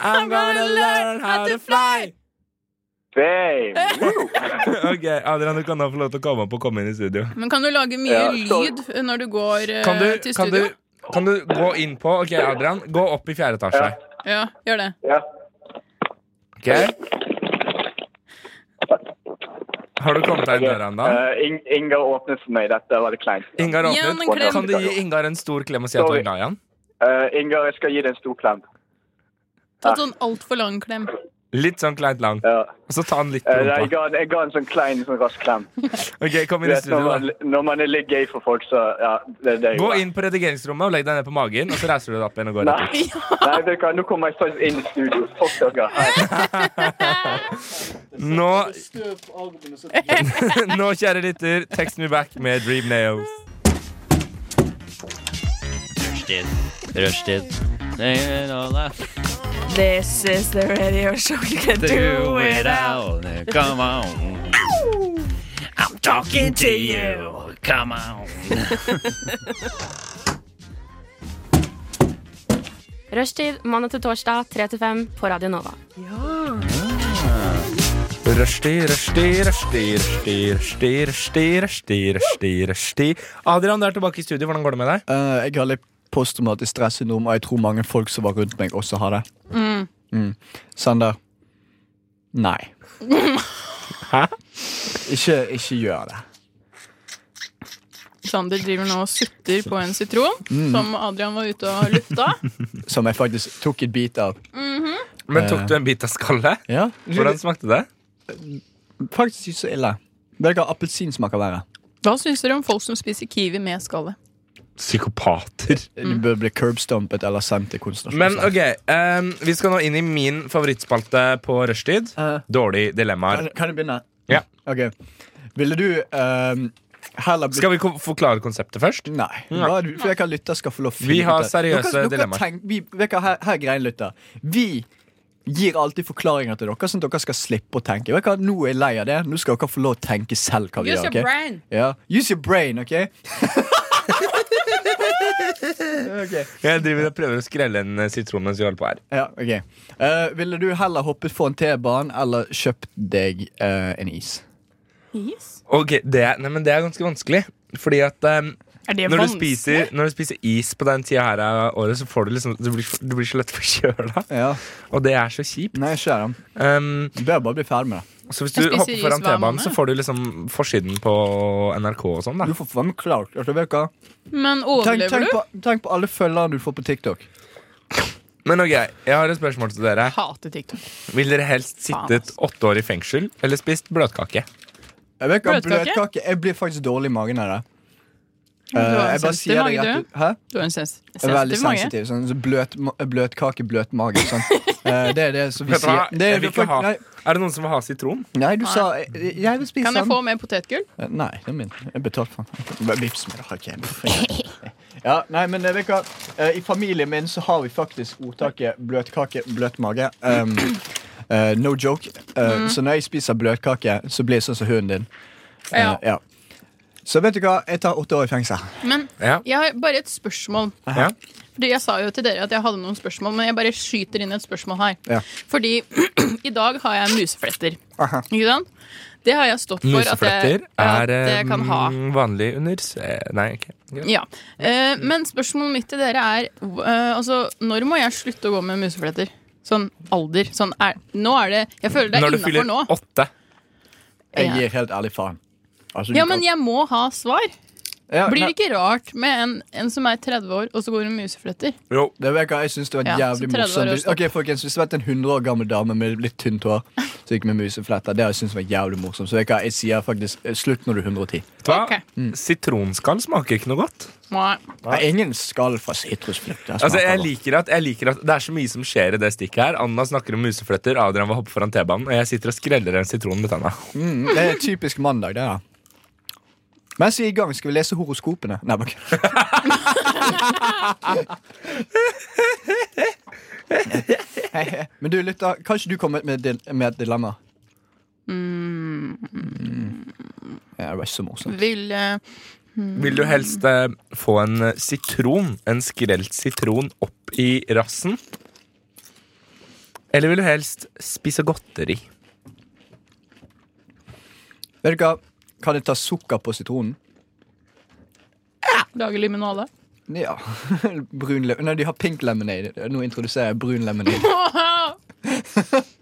I'm gonna learn how to fly.
Fame.
Ok, Adrian, du kan nå få lov til å komme opp og komme inn i studio.
Men kan du lage mye
Ja, så-
lyd når du går eh,
Kan du,
til
kan
studio?
du, kan du gå inn på Ok, Adrian, gå opp i fjerde etasje.
Ja, gjør det.
Ja.
Ok? Har du kommet deg inn døra ennå?
Eh, Ing Ingar åpnet for meg. Dette var litt kleint.
Ingar
Gi han en
åpnet.
klem.
Kan du gi Ingar en stor klem og si at du er glad i han?
Eh, Ingar, jeg skal gi deg en stor klem.
Ta en sånn altfor lang klem.
Litt sånn kleint lang.
Ja.
Og så ta han litt på
Eh, jeg,
rumpa.
ga, jeg ga en sånn klein, sånn rask klem.
Ok, kom
Du
inn i
vet, når,
studio,
man,
da.
når man er litt gay for folk, så ja, det er det jeg
Gå
gjør.
inn på redigeringsrommet og legg deg ned på magen, og så reiser du deg opp igjen og går rett ut.
Nei, Nei vet du hva, nå kommer jeg faktisk inn i studio. Fuck dere.
Nå [laughs] Nå, kjære lytter, text me back med Dream Nails.
This is the radio show you can do, it out.
Come on. I'm talking to you. Come on.
Rushtid mandag til torsdag 3 til 5 på Radio Nova.
Rushdie, rushdie, rushdie, rushdie, rushdie, rushdie, rushdie, rushdie, rushdie. Adrian, du er tilbake i studio. Hvordan går det med deg?
Eh, jeg har litt posttraumatisk stressyndrom, og jeg tror mange folk som var rundt meg, også har det. Mm. Sander. Nei.
Hæ?
Ikke, ikke gjør det.
Sander driver nå og sutter på en sitron, som Adrian var ute og lufta. [laughs]
Som jeg faktisk tok et bit av.
Men tok du en bit av skallet?
Ja,
Hvordan smakte det?
Faktisk ikke så ille. Vet dere hva appelsinsmaker verre?
Hva syns dere om folk som spiser kiwi med skallet?
Psykopater.
Du bør bli curbstumpet eller sendt til
Men
konsentrasjonsleir.
ok, ehm, vi skal nå inn i min favorittspalte på rushtid.
Eh.
Dårlige
Kan,
dilemmaer.
kan jeg begynne?
Ja.
Ok. Ville du ehm, heller blitt
Skal vi ko- forklare konseptet først?
Nei. Hva er det- for jeg kan lytte skal få lov å finne
Vi har
ut av-
seriøse
Dere- dere
dilemmaer.
tenk- vi- vet dere, her, her er greien, lytter. Vi gir alltid forklaringer til dere, sånn at dere skal slippe å tenke. Vet dere, hva, nå er jeg lei av det. Nå skal dere få lov å tenke selv hva vi
Use
gjør.
your
ok?
brain.
Ja. Use your brain, OK?
Jeg driver og prøver å skrelle en eh, sitron mens vi holder på her.
Ja, ok Eh, Ville du heller hoppet for en T-bane eller kjøpt deg eh, en is?
Ok, det, er- nei, men det er ganske vanskelig. Fordi at ehm,
Er det
når du, spiser, når du spiser is på den tida her av året, så får du liksom Du blir, du blir så lett forkjøla.
Ja.
Og det er så kjipt.
Nei, ikke det.
Ehm,
Du bør bare bli ferdig med det.
så hvis du
Jeg spiser
hopper
is
foran
hver
T-banen,
måned.
så får du liksom forsiden på NRK og sånn, da.
Du får faen meg klart altså, vet dere hva?
Men
tenk,
overlever
tenk,
du?
på, tenk på alle følgerne du får på TikTok.
Men ok, jeg har et spørsmål til dere.
Hater TikTok.
Vil dere helst sittet åtte år i fengsel eller spist bløtkake?
Jeg vet ikke,
Bløtkake?
bløtkake Jeg blir faktisk dårlig i magen av det.
Du har
Eh,
en
jeg bare
sensitiv
sier det
mage,
rett
du.
ut. Hæ?
Du har en sens
Jeg er veldig
sensitiv mage.
sensitiv. Sånn, så bløt, ma- bløtkake, bløt mage.
[laughs]
Sånn. Eh, det er det som vi
Vet du hva?
sier. Det,
Jeg vil ikke ha-
nei,
Er det noen som vil ha sitron?
nei, du sa jeg, jeg vil spise
Kan jeg
den.
få mer potetgull?
Eh, Nei, det er min. Jeg betalte for den. Bare Vips med det. har ikke jeg. [laughs] Ja, nei, men eh, vet du hva? Eh, I familien min så har vi faktisk ordtaket bløtkake, bløt mage. Um, eh, no
Mm.
joke. Eh, Så når jeg spiser bløtkake, så blir jeg sånn som hunden din. Eh,
Ja.
ja. Så vet du hva, jeg tar åtte år i fengsel.
Men
Ja.
jeg har bare et spørsmål.
Ja.
Fordi Jeg sa jo til dere at jeg hadde noen spørsmål, men jeg bare skyter inn et spørsmål her.
Ja.
Fordi [clears throat] i dag har jeg musefletter.
Aha.
Ikke sant? Det har jeg stått for at jeg,
Musefletter
at
er
jeg kan ha.
mm, vanlig under eh, Nei, ok.
Ja. Eh, men spørsmålet mitt til dere er eh, altså, når må jeg slutte å gå med musefletter? Sånn alder. Sånn er, nå er det Jeg føler det er
Når du
innafor
fyller
nå.
åtte.
Jeg
Ja.
gir helt ærlig faen. Altså, du
Ja,
kan-
men jeg må ha svar.
Ja,
Blir
nei.
det ikke rart med en, en som er 30 år, og så går hun med musefletter?
Det vet jeg, jeg synes det var
Ja, så
jævlig
30 år
morsomt.
er å
Hvis- Ok, folkens, Hvis det hadde vært en 100 år gammel dame med litt tynt hår som gikk med musefletter, det hadde jeg syntes var jævlig morsomt. Så vet du hva, jeg sier faktisk eh, slutt når du er 110.
Vet du hva?
Mm.
Sitronskall smaker ikke noe godt.
Nei.
Nei, ingen skall fra sitrusfletter.
Altså, jeg liker, at, jeg liker at Det er så mye som skjer i det stikket her. Anna snakker om musefletter, Adrian vil hoppe foran T-banen, og jeg sitter og skreller en sitron med tanna.
Mm, det er typisk mandag, det her. Mens vi er i gang, skal vi lese horoskopene. Nei, bare kødd. Hei, hei. Men du, lytter, kan ikke du komme med, dil med et dilemma? Mm. Ja, det var så morsomt.
Vil eh, hmm.
Vil du helst eh, få en eh, sitron, en skrelt sitron, opp i rassen? Eller vil du helst spise godteri?
Vet du hva? Kan jeg ta sukker på sitronen?
lage limonade?
Ja. [laughs] Brun lem- Nei, de har pink lemonade. Nå introduserer jeg brun [laughs] lemonade.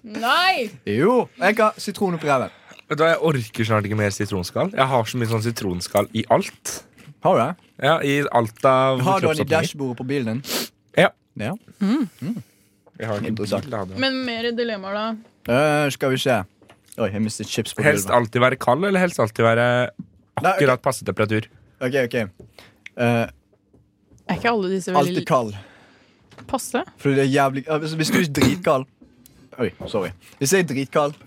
Nei!
Jo, jeg har sitron oppi reven.
Vet du hva, Jeg orker snart ikke mer sitronskall. Jeg har så mye sånn sitronskall i alt.
Har du det?
Ja, I alt av
Har du den i
kroppsoppbygning.
dashbordet på bilen din?
Ja.
Ja.
Jeg har ikke
Interessant.
bil, da.
Men mer dilemmaer, da.
Eh, skal vi se. Oi, jeg mistet chips på
Helst
gulvet.
alltid være kald, eller helst alltid være akkurat passe temperatur?
Ok, ok. Eh,
Er ikke alle disse
alltid
veldig
kald.
passe?
Fordi det er jævlig eh, hvis, hvis du er dritkald Oi, sorry. Hvis jeg er dritkald,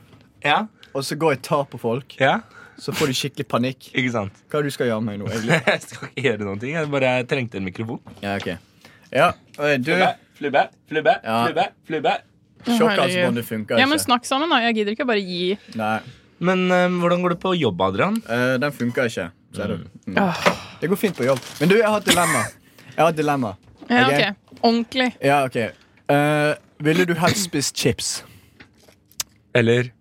og så går jeg og tar på folk,
Ja,
så får de skikkelig panikk.
ikke sant?
Hva er det du skal gjøre med meg nå? egentlig?
[laughs] Jeg skal ikke gjøre noen ting. Jeg bare trengte en mikrofon.
Ja, ok. Ja, oi, du
flubbe, flubbe,
Ja. flubbe,
flubbe.
Sjokkansbåndet altså, funker
Ja, men
ikke.
snakk sammen, da. Jeg gidder ikke bare gi.
Nei,
Men eh, hvordan går det på jobb, Adrian?
eh, den funker ikke. Ser du. Mm.
Ah.
Det går fint på jobb. Men du, jeg har et dilemma. Jeg har et dilemma.
Ja,
Ok.
ok. Ordentlig.
Ja, ok. Eh, ville du helst spist chips?
Eller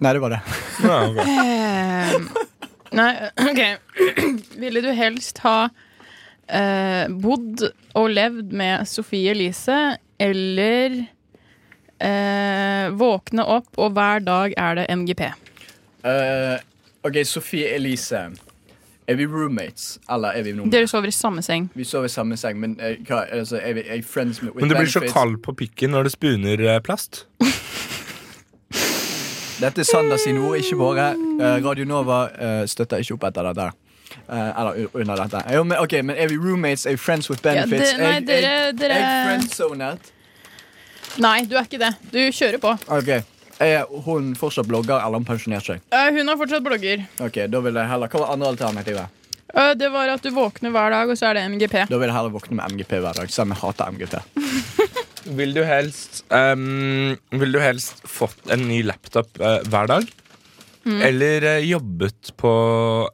Nei, det var det.
Ehm, Nei, [clears throat] OK. Ville du helst ha eh, bodd og levd med Sofie Elise, eller eh, våkne opp, og hver dag er det MGP?
Eh, ok, Sofie Elise. Er vi roommates, eller er vi noen?
Dere sover i samme seng.
Vi sover i samme seng, men eh, hva, altså, er vi er vi friends med
[laughs]
with
Men du blir så
benefits?
kald på pikken når du spuner eh, plast.
Dette er Sander sine ord, ikke våre. Eh, Radio Nova eh, støtter ikke opp etter dette. Eh, eller u- under dette. Jo, men, ok, men er vi roommates? Er vi friends with
Ja,
benefits?
det, nei,
Er-
dere,
er- Er
dere
jeg friendzonet?
Nei, du er ikke det. Du kjører på.
Ok. Er hun fortsatt blogger, eller har hun pensjonert seg?
Eh, Hun er fortsatt blogger.
Ok, da vil jeg heller Hva var andre alternativet?
Eh, Det var at du våkner hver dag, og så er det MGP.
Da vil jeg heller våkne med MGP hver dag, selv om jeg hater MGP.
Vil du helst ehm, Vil du helst fått en ny laptop eh, hver dag? Eller eh, jobbet på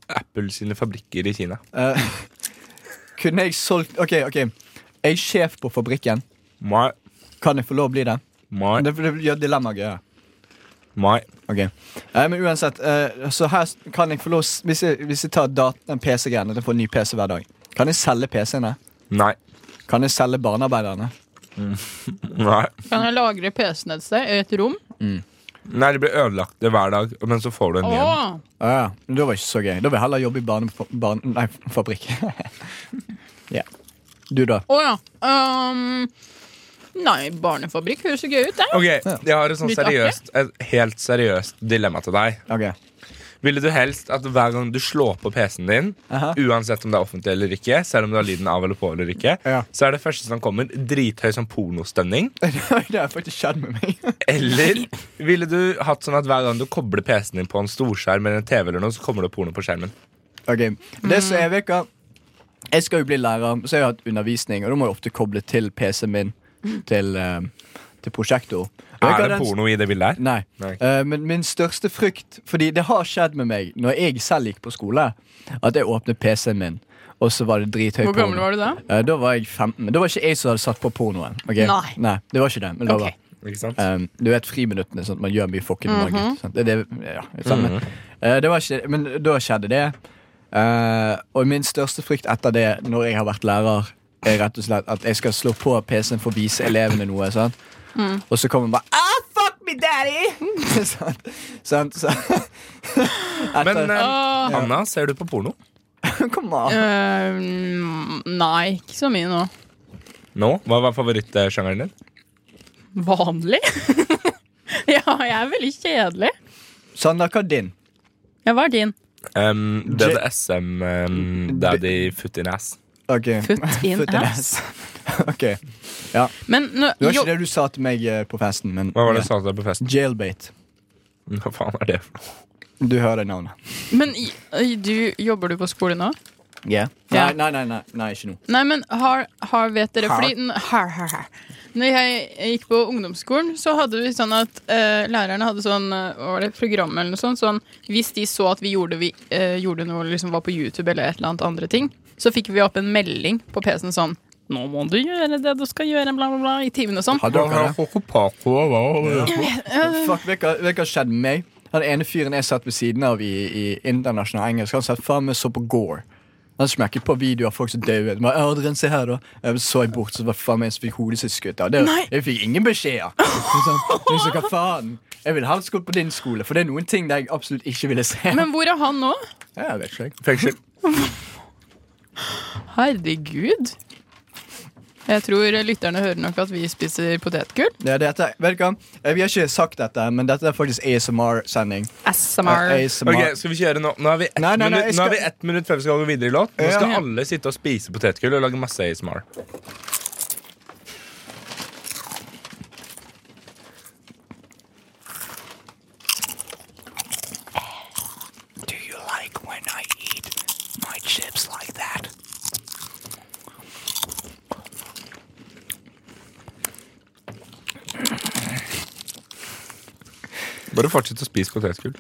Apple sine fabrikker i Kina?
Eh, [laughs] kunne jeg solgt Ok, ok. Jeg er sjef på fabrikken.
Mai,
Kan jeg få lov å bli det?
mai,
Det, det gjør dilemmaet gøyere.
mai.
Ok. Eh, men uansett, eh, så her s- kan jeg få lov s- Hvis jeg, hvis jeg tar dat- den PC-greiene og får en ny PC hver dag, kan jeg selge PC-ene?
Nei.
Kan jeg selge barnearbeiderne?
Nei.
Kan jeg lagre PC-en et sted? I et rom?
Nei, de blir ødelagt hver dag, men så får du en ny en.
Åh,
Ah, ja. Men Det var ikke så gøy. Da vil jeg heller jobbe i barne, barne, nei, fabrikk. [laughs] Ja. Du, da?
Åh, ja. Um, nei, barnefabrikk høres jo gøy ut, det.
Ok, jeg har et sånn
Litt artig.
seriøst Et helt seriøst dilemma til deg.
Ok. [laughs]
Ville du helst at hver gang du slår på PC-en din,
Aha.
uansett om det er offentlig eller ikke, selv om du har lyden av eller på eller ikke,
Ja.
så er det første som kommer, drithøy som pornostønning?
det har faktisk skjedd med meg.
Eller ville du hatt sånn at hver gang du kobler PC-en din på en storskjerm eller en TV, eller noe, så kommer det porno på skjermen?
Ok,
Mm.
det som jeg vet hva Jeg skal jo bli lærer, så jeg har hatt undervisning Og da må jeg ofte koble til PC-en min Til, eh, til prosjektor. Og jeg
Er
har
det
den-
porno i det bildet her?
Nei.
Nei.
Eh, men min største frykt Fordi det har skjedd med meg når jeg selv gikk på skole, at jeg åpnet PC-en min, og så var det drithøy
Hvor gammel var du da?
Eh, da var jeg 15. Men det var ikke jeg som hadde satt på pornoen. ok?
Nei.
det var ikke det. Men det
Ok.
var
Ikke sant?
Um, du vet friminuttene, sånn at man gjør mye fucking mm
Mhm.
sant? Det, det, ja, samme.
Mhm.
Eh, det var ikke, men da skjedde det. Eh, og min største frykt etter det, når jeg har vært lærer, er rett og slett at jeg skal slå på PC-en for å vise elevene noe. Sant?
Mhm.
Og så kommer man bare [laughs] ah, fuck me, daddy! sant? sant? Så,
[laughs]
etter,
Men eh,
Åh.
Hanna, ser du på porno?
[laughs] Kom an.
Øhm, nei, ikke så mye nå.
Nå? Hva var favorittsjangeren din?
Vanlig? [laughs] ja, jeg er veldig kjedelig.
Sander, hva er din?
Ja, hva er din?
Um, DDSM um, Daddy Foot in Ass.
Ok. [laughs]
Foot in
Foot in
ass.
Ok.
Men nå,
Det var
jo,
ikke det du sa til meg eh, på festen, men
Hva var det du sa til deg på festen?
jailbait.
Hva faen er det for noe?
Du hører navnet.
men i- øy, du, jobber du på skole nå? Ja.
Nei, nei, nei, nei, nei, ikke nå.
Nei, men har, har vet dere
Har.
fordi, n- har, har, har. Når jeg gikk på ungdomsskolen, så hadde vi sånn at eh, lærerne hadde sånn eh, hva var det, program eller noe sånt. Sånn, hvis de så at vi gjorde, vi, eh, gjorde noe liksom var på YouTube eller et eller annet andre ting, så fikk vi opp en melding på PC-en sånn Nå må du gjøre det du skal gjøre, bla, bla, bla, i timen og sånn.
Hadde dere det?
Hva
Fuck, vet dere vet dere hva skjedde med meg? Han ene fyren jeg satt ved siden av i, i internasjonal engelsk, han satt faen meg så på Gore. Han smekket på videoer av folk som døde. Han bare, Adrian, se her da Jeg Så jeg bort, så var det faen meg en som fikk hodet sitt skutt. av. Det,
Nei.
jeg fikk ingen beskjeder. Sånn, liksom, hva faen? Jeg ville helst gått på din skole, for det er noen ting der jeg absolutt ikke ville se.
Men hvor er han nå?
[laughs] Ja, jeg vet ikke, jeg.
Fengsel.
Herregud. Jeg tror lytterne hører nok at vi spiser potetgull.
Ja, dette, vet dere hva? Eh, Vi har ikke sagt dette, men dette er faktisk ASMR-sending.
ASMR.
ASMR.
Ok, skal vi kjøre nå? Nå er vi ett
Nei, nei, nei,
minutt, nå
jeg skal-
er vi ett minutt før vi skal gå videre i låt. Nå
Ja.
skal alle sitte og spise potetgull og lage masse ASMR.
Do you like when I eat my chips like that?
Bare fortsett å spise potetgull.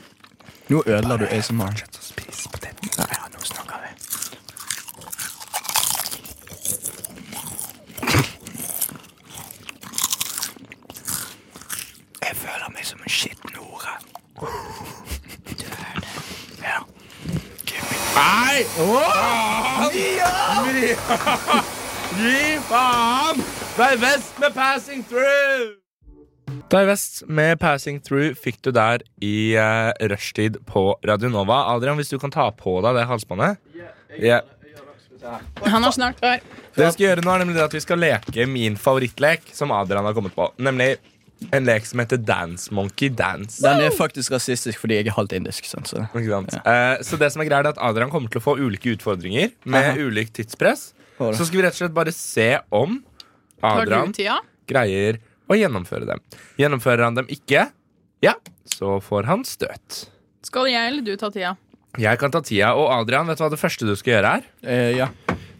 Nå ødela du ASMR. Nei, ja, nå snakker vi. Jeg føler meg som en skitten hore. Du hører det?
Nei! Gi faen! Divest med Passing Through! Divest med Passing Through fikk du der i eh, rushtid på Radio Nova. Adrian, hvis du kan ta på deg det halsbåndet. Ja.
Han er snart klar.
Det vi skal gjøre nå er nemlig det at vi skal leke min favorittlek, som Adrian har kommet på. Nemlig en lek som heter Dance Monkey Dance.
Den er faktisk rasistisk fordi jeg er halvt indisk. sant, så.
Ikke sant? Eh, så det som er greia er at Adrian kommer til å få ulike utfordringer med
Aha.
ulikt tidspress.
Får det.
Så skal vi rett og slett bare se om
Tar
Adrian
du tida?
greier å gjennomføre dem. Gjennomfører han dem ikke, ja, så får han støt.
Skal jeg eller du ta tida?
Jeg kan ta tida, og Adrian, vet du hva det første du skal gjøre er?
Eh, ja.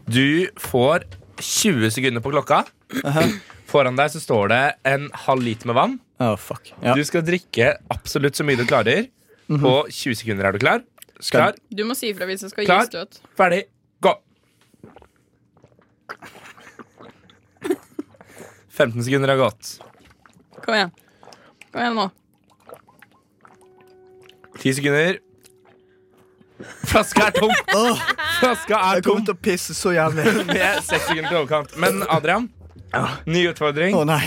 Du får 20 sekunder på klokka. Foran deg så står det en halv liter med vann.
Å, fuck. Ja. Mhm.
Du skal drikke absolutt så mye du klarer. På 20 sekunder er du klar.
Skal-
Klar,
Du må si ifra hvis jeg skal
Klar.
gi støt.
ferdig, gå! 15 sekunder har gått.
Kom igjen. Kom igjen nå.
10 sekunder. Flaska er
[laughs]
tom! Flaska er
Jeg kommer
tom!
til å pisse så jævlig.
med 6 sekunder til overkant. Men Adrian, ny utfordring.
[laughs] Å nei.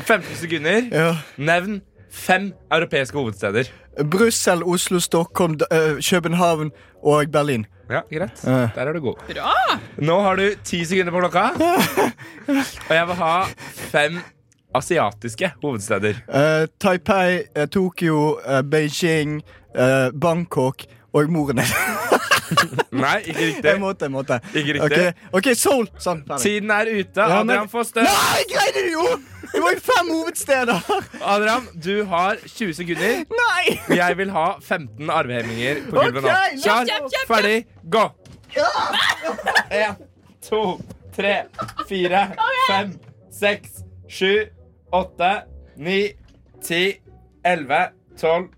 15 sekunder.
Ja.
Nevn fem europeiske hovedsteder.
Brussel, Oslo, Stockholm, D- eh, København og Berlin.
Ja, greit.
Ja.
Der er du god.
Bra!
Nå har du 10 sekunder på
[laughs]
klokka. Og jeg vil ha fem asiatiske hovedsteder.
Eh, Taipei, eh, Tokyo, eh, Beijing, eh, Bangkok og Morene.
Nei, ikke
[laughs] jeg
riktig.
måtte, jeg måtte.
Ikke riktig.
Ok, ok, Seoul! Sånn. ferdig.
Tiden er ute.
Ja, men-
Adrian får støt.
Nei, jeg greide det jo! Det var jo fem hovedsteder!
Adrian, du har 20 sekunder.
Nei!
Jeg vil ha 15 arvehemminger på gulvet nå.
Ok,
Klar,
kjapp, kjapp,
ferdig, gå!
[laughs]
Én, to, tre, fire, fem, seks, sju, åtte, 9, 10, 11, 12,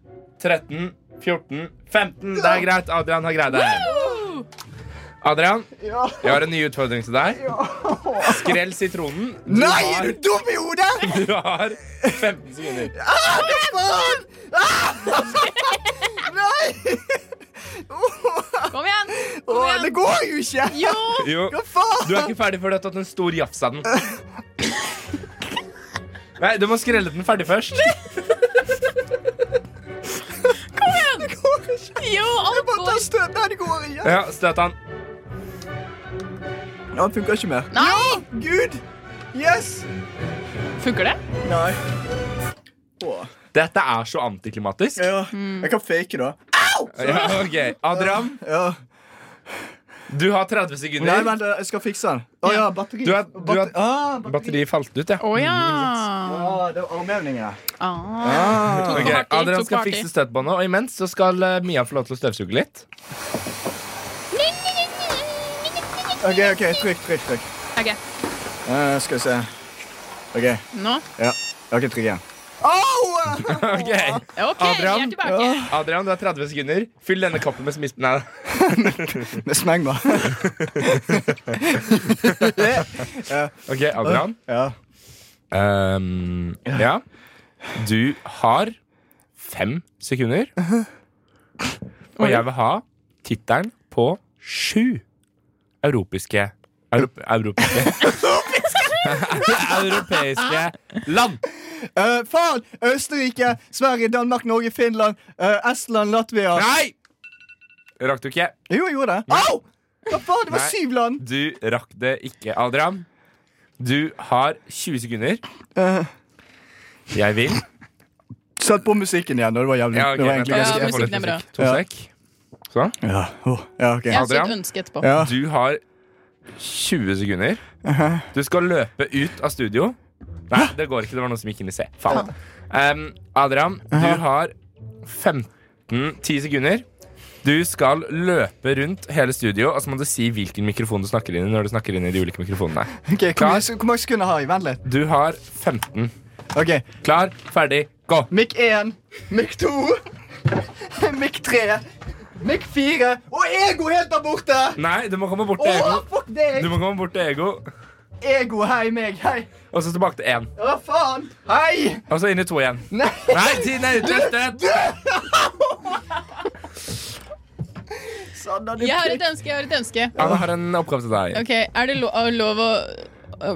13, 14, 15. Det er greit. Adrian har greid det. Adrian,
Ja.
jeg har en ny utfordring til deg. Skrell sitronen. Du
Nei,
har-
er du dum i hodet?!
Du har 15 sekunder.
Ah, det er faen! Ah! [laughs] Nei!
Kom igjen!
Å,
Kom igjen.
det går jo ikke!
Jo!
Jo,
Hva faen?
du er ikke ferdig før du har tatt en stor jafs av den. Nei, du må skrelle den ferdig først.
Kom igjen!
Det går ikke.
Jo,
Jeg
alt
bare
går.
tar støt. Nei, det går ikke.
Ja, Støt han.
Ja, det funker ikke mer.
Nei!
Gud! Yes!
Funker det?
Nei. Åh.
Dette er så antiklimatisk.
Ja.
Hmm.
Jeg kan fake, da. Au!
Ja, ok. Adrian,
Ja.
du har 30
Nei,
sekunder.
vent, jeg skal fikse den. Å ja, batteri.
Du har- du har-
Batter- ah, batteri.
Batteriet falt ut, ja.
Å ja.
Ah, det var armhevninger.
Ah.
Ah.
Ok,
Party,
Adrian
to
skal
party.
fikse støtbåndet, og imens så skal eh, Mia få lov til å støvsuge litt.
OK, ok, trykk, trykk. trykk
OK,
Eh, Skal vi se. OK.
nå.
Ja. Jeg har ikke trykk igjen. Au!
Ok,
OK, vi
Adrian?
er tilbake.
Adrian, du har 30 sekunder. Fyll denne koppen med smisk... Nei.
Med smeng, da. [laughs]
Ok, Adrian.
Ja.
Ehm, ja. Du har fem sekunder. Og jeg vil ha tittelen på sju europiske Europ, Europiske Europeiske land.
Eh, faen! Østerrike, Sverige, Danmark, Norge, Finland, eh, Estland, Latvia.
Nei! Rakk du ikke?
Jo, jeg gjorde det. Au! Hva faen? Det var
Nei.
syv land.
Du rakk det ikke, Adrian. Du har 20 sekunder.
Eh,
Jeg vil.
Sett på musikken igjen. da. Det var jævlig.
Ja, ok,
det var
vent,
egentlig
jeg
ganske-
skal
Ja,
få litt
musikken er bra.
musikk. To
Ja.
sek. Sånn.
Ja, oh, ja ok.
Jeg har
Adrian?
et ønske etterpå.
Ja.
Du har 20 sekunder. Du skal løpe ut av studio. Nei, det går ikke. Det var noen som gikk inn i C. Faen. Um, Adrian, du har 15-10 sekunder. Du skal løpe rundt hele studio, og så må du si hvilken mikrofon du snakker inn i. når du snakker inn i de ulike mikrofonene.
Ok, hvor,
Klar?
mange, hvor mange sekunder har jeg? Vent litt.
Du har 15.
Ok,
Klar, ferdig, gå!
Mikk 1, mikk [laughs] 2, mikk 3, mikk 4 og ego helt der borte!
Nei, du må komme bort
Å,
til ego.
fuck
Du
deg!
må komme bort til ego,
Ego, hei meg, hei.
Og så tilbake til én.
Å, faen! Hei!
Og så inn i to igjen.
Nei!
Nei, tiden er ute!
Sanna, Sånn, du
Jeg har et ønske, jeg har et ønske.
Anna har en oppgave til deg.
Ok, Er det lo lov å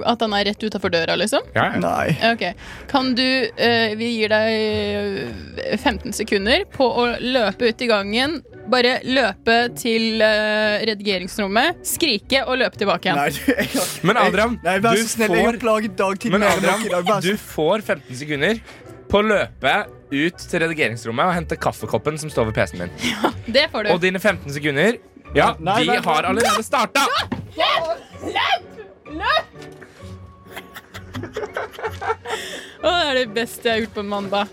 At han er rett utafor døra, liksom?
Ja, ja.
Nei.
Ok, Kan du eh, Vi gir deg eh, 15 sekunder på å løpe ut i gangen. Bare løpe til eh, redigeringsrommet, skrike og løpe tilbake igjen.
Nei, du, jeg har-
Men Adriam,
Nei, vær
du
så snill, jeg har
får-
plaget dagtid
Men
mer enn nok i dag.
Adrian,
Vær så
du får 15 sekunder på å løpe ut til redigeringsrommet og hente kaffekoppen som står ved PC-en min.
Det får
Og
du.
dine 15 sekunder Ja,
Nei,
de
vent,
har
vent.
allerede starta!
Å, det er det beste jeg har gjort på en mandag.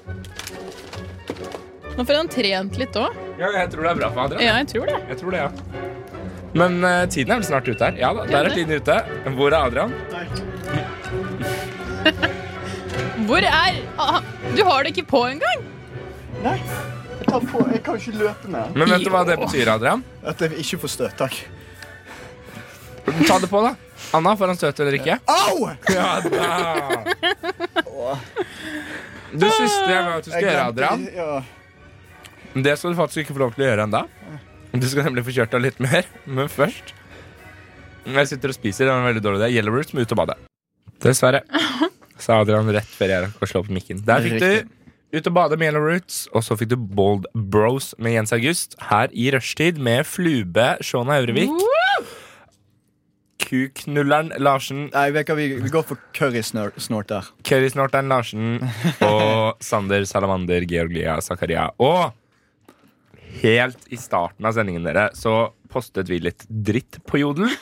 Nå får han trent litt òg.
Ja, jeg tror det er bra for Adrian.
Ja, jeg tror det.
Jeg tror det, ja. Men eh, tiden er vel snart ute her. Ja da, der er tiden ute. Hvor er Adrian?
Hvor er ah, Du har det ikke på engang!
Nei, jeg tar på. Jeg kan ikke løpe mer.
Men vet du hva det betyr, Adrian?
At jeg ikke får støt, takk.
Ta det på, da. Anna, får han støt eller ikke?
Au!
Ja da! Du siste jeg vet du skal gjøre, Adrian
Ja.
Men Det skal du faktisk ikke få lov til å gjøre enda Du skal nemlig få kjørt deg litt mer Men først Jeg sitter og spiser, det var en veldig dårlig idé Yellow Roots må ut og bade Dessverre Sa Adrian rett før jeg rakk å slå på mikken Der fikk
Riktig.
du ut og bade med Yellow Roots Og så fikk du Bold Bros med Jens August Her i rushtid med Flube Sjona Eurevik Kuknulleren Larsen
Nei, vet du hva, vi, vi går for currysnort der.
Currysnorteren Larsen og Sander Salamander Georgia Zakaria. Og helt i starten av sendingen dere så postet vi litt dritt på Jodel.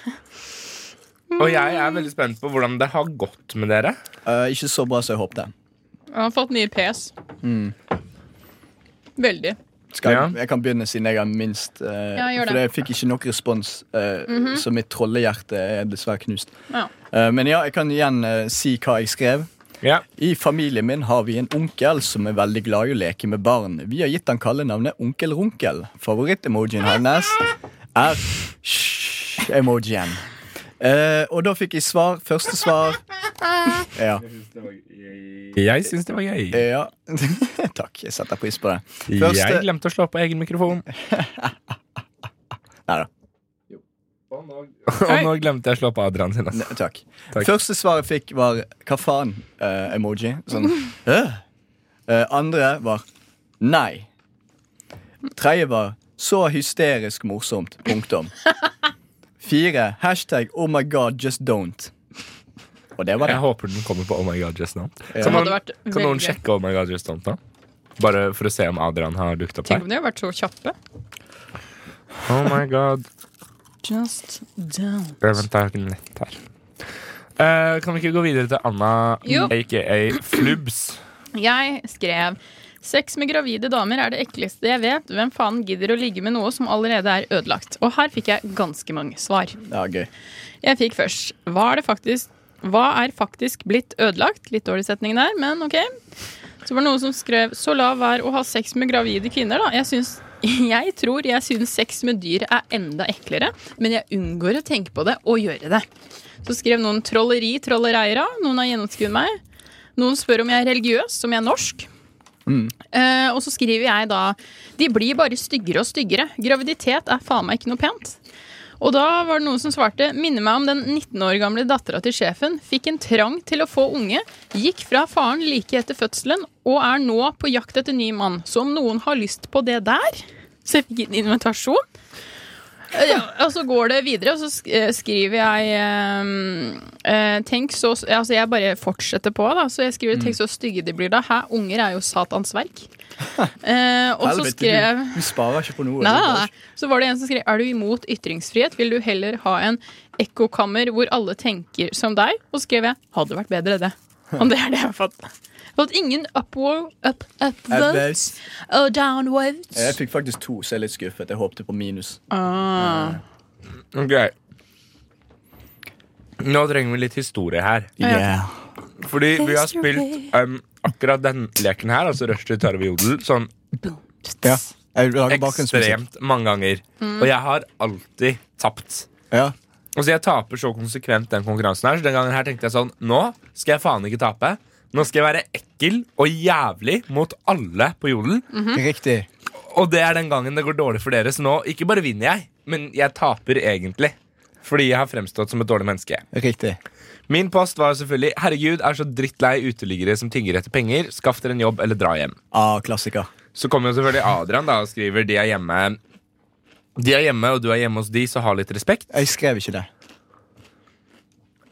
Og jeg er veldig spent på hvordan det har gått med dere.
Eh, ikke så bra som jeg håpte.
Han har fått nye PS. Veldig.
Skal jeg,
Ja.
jeg kan begynne siden jeg er minst. eh,
Ja, gjør
for
det.
jeg
Mhm.
fikk ikke nok respons, eh, så mitt trollehjerte er dessverre knust.
Ja.
Eh, men ja, jeg kan igjen eh, si hva jeg skrev. I familien min har vi en onkel som er veldig glad i å leke med barn. Vi har gitt han kallenavnet Onkel Runkel. Favorittemojien hans er emojien. Eh, og da fikk jeg svar. Første svar Ja.
Jeg syns det var gøy.
Ja. [laughs] Takk. Jeg setter pris på det.
Jeg
Eh, Første
glemte å slå på egen mikrofon.
Neida.
Og nå glemte jeg å slå på Adrian sin.
Ne,
Altså.
takk.
Takk.
Første svaret jeg fikk, var 'hva faen'-emoji.
[laughs]
sånn «Hæ?» Eh, Andre var 'nei'. Tredje var 'så hysterisk morsomt'.
[laughs]
Punktum. Fire hashtag 'oh my god, just don't'. Og det var
Jeg
det.
håper den kommer på Oh my god, just not.
Ja.
Kan
hadde
noen,
vært
kan noen
veldig gøy.
sjekke Oh my god, just not, da? Bare for å se om Adrian har dukket opp
Tenk
her.
om de har vært så kjappe.
Oh my god
Just down.
Ja, Vent, jeg har ikke nett her. Eh, kan vi ikke gå videre til Anna,
Jo.
aka Flubbs?
Jeg skrev Sex med gravide damer er det ekleste jeg vet. Hvem faen gidder å ligge med noe som allerede er ødelagt? Og her fikk jeg ganske mange svar.
Ja, gøy.
Jeg fikk først Hva er det faktisk Hva er faktisk blitt ødelagt? Litt dårlig setning der, men ok. Så var det noen som skrev Så la være å ha sex med gravide kvinner, da. Jeg syns [laughs] jeg tror jeg syns sex med dyr er enda eklere, men jeg unngår å tenke på det og gjøre det. Så skrev noen trolleri, trollereira. Noen har gjennomskuet meg. Noen spør om jeg er religiøs, om jeg er norsk. Eh, og så skriver jeg da De blir bare styggere og styggere. Graviditet er faen meg ikke noe pent. Og da var det noen som svarte Minner meg om den 19 år gamle dattera til sjefen Fikk en trang til å få unge Gikk fra faren like etter fødselen Og er nå på jakt etter ny mann Så om noen har lyst på det der Så jeg fikk en invitasjon Eh, ja, og så går det videre, og så sk- eh, skriver jeg eh, eh, Tenk så Altså, jeg bare fortsetter på, da. Så jeg skriver 'Tenk så stygge de blir', da. Hæ, unger er jo Satans verk. Eh, og så
Helvete,
skrev
du, du sparer ikke på noe.
Nei,
du
nei,
bare-
nei. Ah. Så var det en som skrev Er du imot ytringsfrihet? Vil du heller ha en ekkokammer hvor alle tenker som deg? Og så skrev jeg Hadde vært bedre
[laughs]
det. Om det er det jeg har fått. Jeg har fått ingen upwo- up, upvotes
Advaus.
og downvotes.
Jeg fikk faktisk to, så jeg er litt skuffet. Jeg håpte på minus.
Ah.
Ok Nå trenger vi litt historie her.
Yeah.
Fordi vi har spilt um, akkurat den leken her, altså Rush til Tarve Jodel, sånn
Ja. Jeg lager bakgrunnsmusikk.
ekstremt mange ganger.
Mm.
Og jeg har alltid tapt.
Ja.
Altså Jeg taper så konsekvent den konkurransen her, så den gangen her tenkte jeg sånn Nå skal jeg faen ikke tape. Nå skal jeg være ekkel og jævlig mot alle på Jodel.
Mhm.
Riktig.
Og det er den gangen det går dårlig for dere, så nå ikke bare vinner jeg, men jeg taper egentlig. Fordi jeg har fremstått som et dårlig menneske.
Riktig.
Min post var selvfølgelig 'Herregud, er så drittlei uteliggere som tigger etter penger'. Skaff dere en jobb eller dra hjem.
Ah, klassiker.
Så kommer jo selvfølgelig Adrian da og skriver 'De er hjemme'. De er hjemme, og du er hjemme hos de, så ha litt respekt.
Jeg skrev ikke det.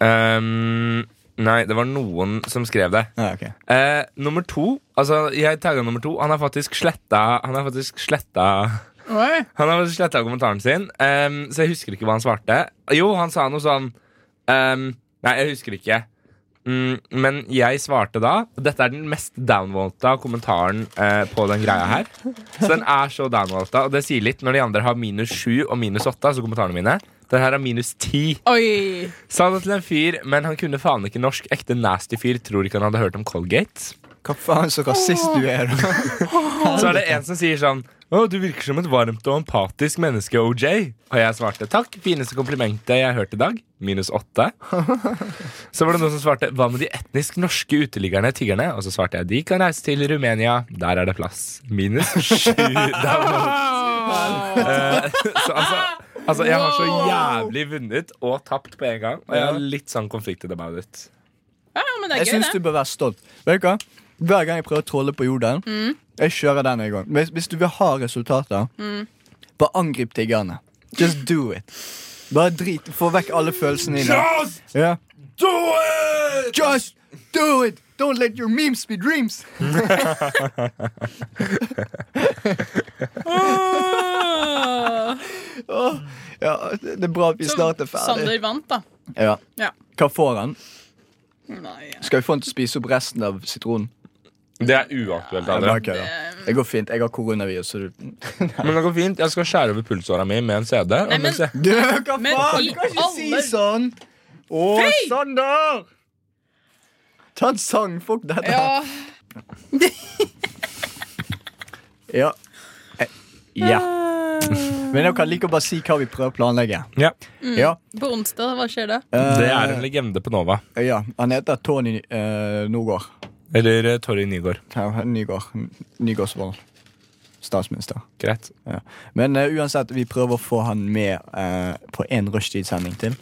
Ehm, nei, det var noen som skrev det.
Ah, ok.
Eh, nummer to Altså, jeg tagga nummer to. Han har faktisk sletta Han har faktisk sletta
Oi.
Han har sletta kommentaren sin, ehm, så jeg husker ikke hva han svarte. Jo, han sa noe sånn ehm, Nei, jeg husker ikke. Mm, men jeg svarte da Dette er den mest downvolta kommentaren eh, på den greia her. Så den er så downvolta, og det sier litt når de andre har minus sju og minus åtte. Altså kommentarene mine Den her har minus ti.
Oi.
Sa det til en fyr, men han kunne faen ikke norsk. Ekte nasty fyr. Tror ikke han hadde hørt om Colgate.
Hva faen så rasist du er,
[laughs]
da?
Så er det en som sier sånn Å, du virker som et varmt og empatisk menneske, OJ. Og jeg svarte takk. Fineste komplimentet jeg har hørt i dag. Minus åtte. Så var det noen som svarte hva med de etnisk norske uteliggerne, tiggerne? Og så svarte jeg de kan reise til Rumenia. Der er det plass. Minus sju. [laughs] downvotes. Eh, så altså Altså, Jeg har så jævlig vunnet og tapt på en gang. Og jeg er litt sånn conflicted about it.
Ja, men det
Jeg
er gøy,
syns du
det.
bør være stolt. Vet du hva? Hver gang jeg prøver å trolle på jorden,
Mhm.
jeg kjører den en gang. Hvis, hvis du vil ha resultater,
Mhm.
bare angrip tiggerne. Just do it. Bare drit. Få vekk alle følelsene dine. Ja. Just do it! Don't let your memes be dreams.
Ah.
Åh, ja, det det er bra at vi snart er ferdig.
Sander vant, da.
Ja.
Ja.
Hva får han?
Nei.
Skal vi få han til å spise opp resten av sitronen?
Det er uaktuelt.
Ja,
Adrian.
det er ok, da. Det går fint. Jeg har koronavirus, [laughs] så du
Men det går fint. Jeg skal skjære over pulsåra mi med en CD. og
Nei, men-
mens jeg-
Du, hva
Men
faen? sånn! Du
i
kan ikke si
alle-
sånn! Å, Sander! Ta en sang. Fuck det der.
Ja.
Ja. Eh, ja. Ah. Men dere kan like å bare si hva vi prøver å planlegge.
Ja.
Ja.
På onsdag, hva skjer da?
Eh,
Det er en legende på Nova.
ja. Han heter Tony eh, Nogård.
Eller eh, Torry Nygaard.
Ja, Nygård. Nygårdsvold. Statsminister.
Greit.
Ja. Men eh, uansett, vi prøver å få han med eh, på en rushtidssending til.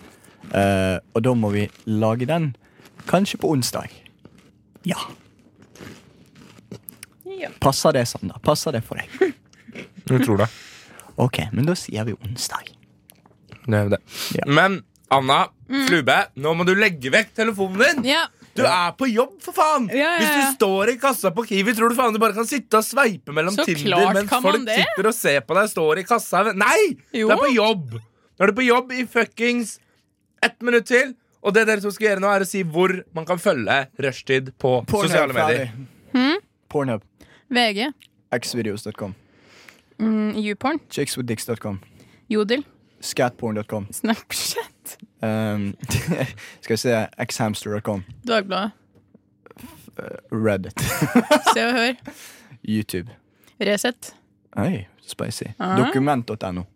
Eh, og da må vi lage den kanskje på onsdag. Ja.
Ja.
Passer det, Sander? Passer det for deg?
Jeg tror det.
Ok, men da sier vi onsdag.
[laughs] det, er det.
Ja.
Men Anna Flube, nå må du legge vekk telefonen din!
Mm. Ja.
Du er på jobb, for faen!
Ja, ja,
Hvis
ja.
du står i kassa på Kiwi, tror du faen du bare kan sitte og sveipe mellom
Så
Tinder
klart
mens
kan man
folk
det.
sitter og ser på deg står i kassa? Nei!
Jo.
Du er på jobb! Nå er du på jobb i fuckings ett minutt til. Og det dere to skal gjøre nå, er å si hvor man kan følge rushtid på sosiale medier.
Pornhub.
VG.
Xvideos.com.
Mm, Youporn.
Chickswithdicks.com.
Jodel.
Scatporn.com.
Snapchat.
Um, [laughs] skal vi se Xhamster.com.
Dagbladet.
Reddit.
Se og Hør.
YouTube.
Resett.
Oi, spicy. Dokument.no.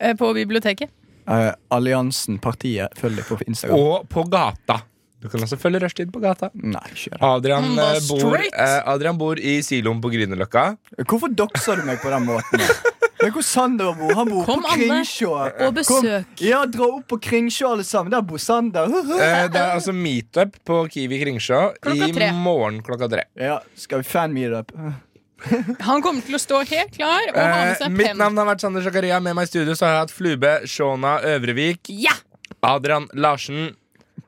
Eh, På biblioteket.
Eh, Alliansen, partiet, følg det på Instagram.
Og på gata. Du kan også følge rushtid på gata.
Nei, kjør.
Adrian,
Han var
eh, bor,
straight.
eh, Adrian bor i siloen på Grünerløkka.
Hvorfor dokser du meg på den måten? Men hvor Sander bor? Han bor
Kom,
på
Anne,
Kringsjå.
og besøk.
Kom. Ja, dra opp på Kringsjå, alle sammen. Der bor Sander. [laughs]
Eh,
[laughs]
det er altså meetup på Kiwi Kringsjå
Klokka
i
tre.
morgen klokka tre.
Ja, skal vi fan-meetup?
Han kommer til å stå helt klar og ha med
Eh,
seg
mitt
penn.
navn har vært Sander Zakaria. Med meg i studio så har jeg hatt Flube, Shona Øvrevik,
Ja!
Adrian Larsen.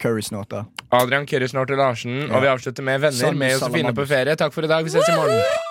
Currysnåter.
Adrian Kyrre snart til Larsen. Og vi avslutter med venner
Sander
med Josefine på
Salamanders.
ferie. Takk for i dag. Vi ses i morgen.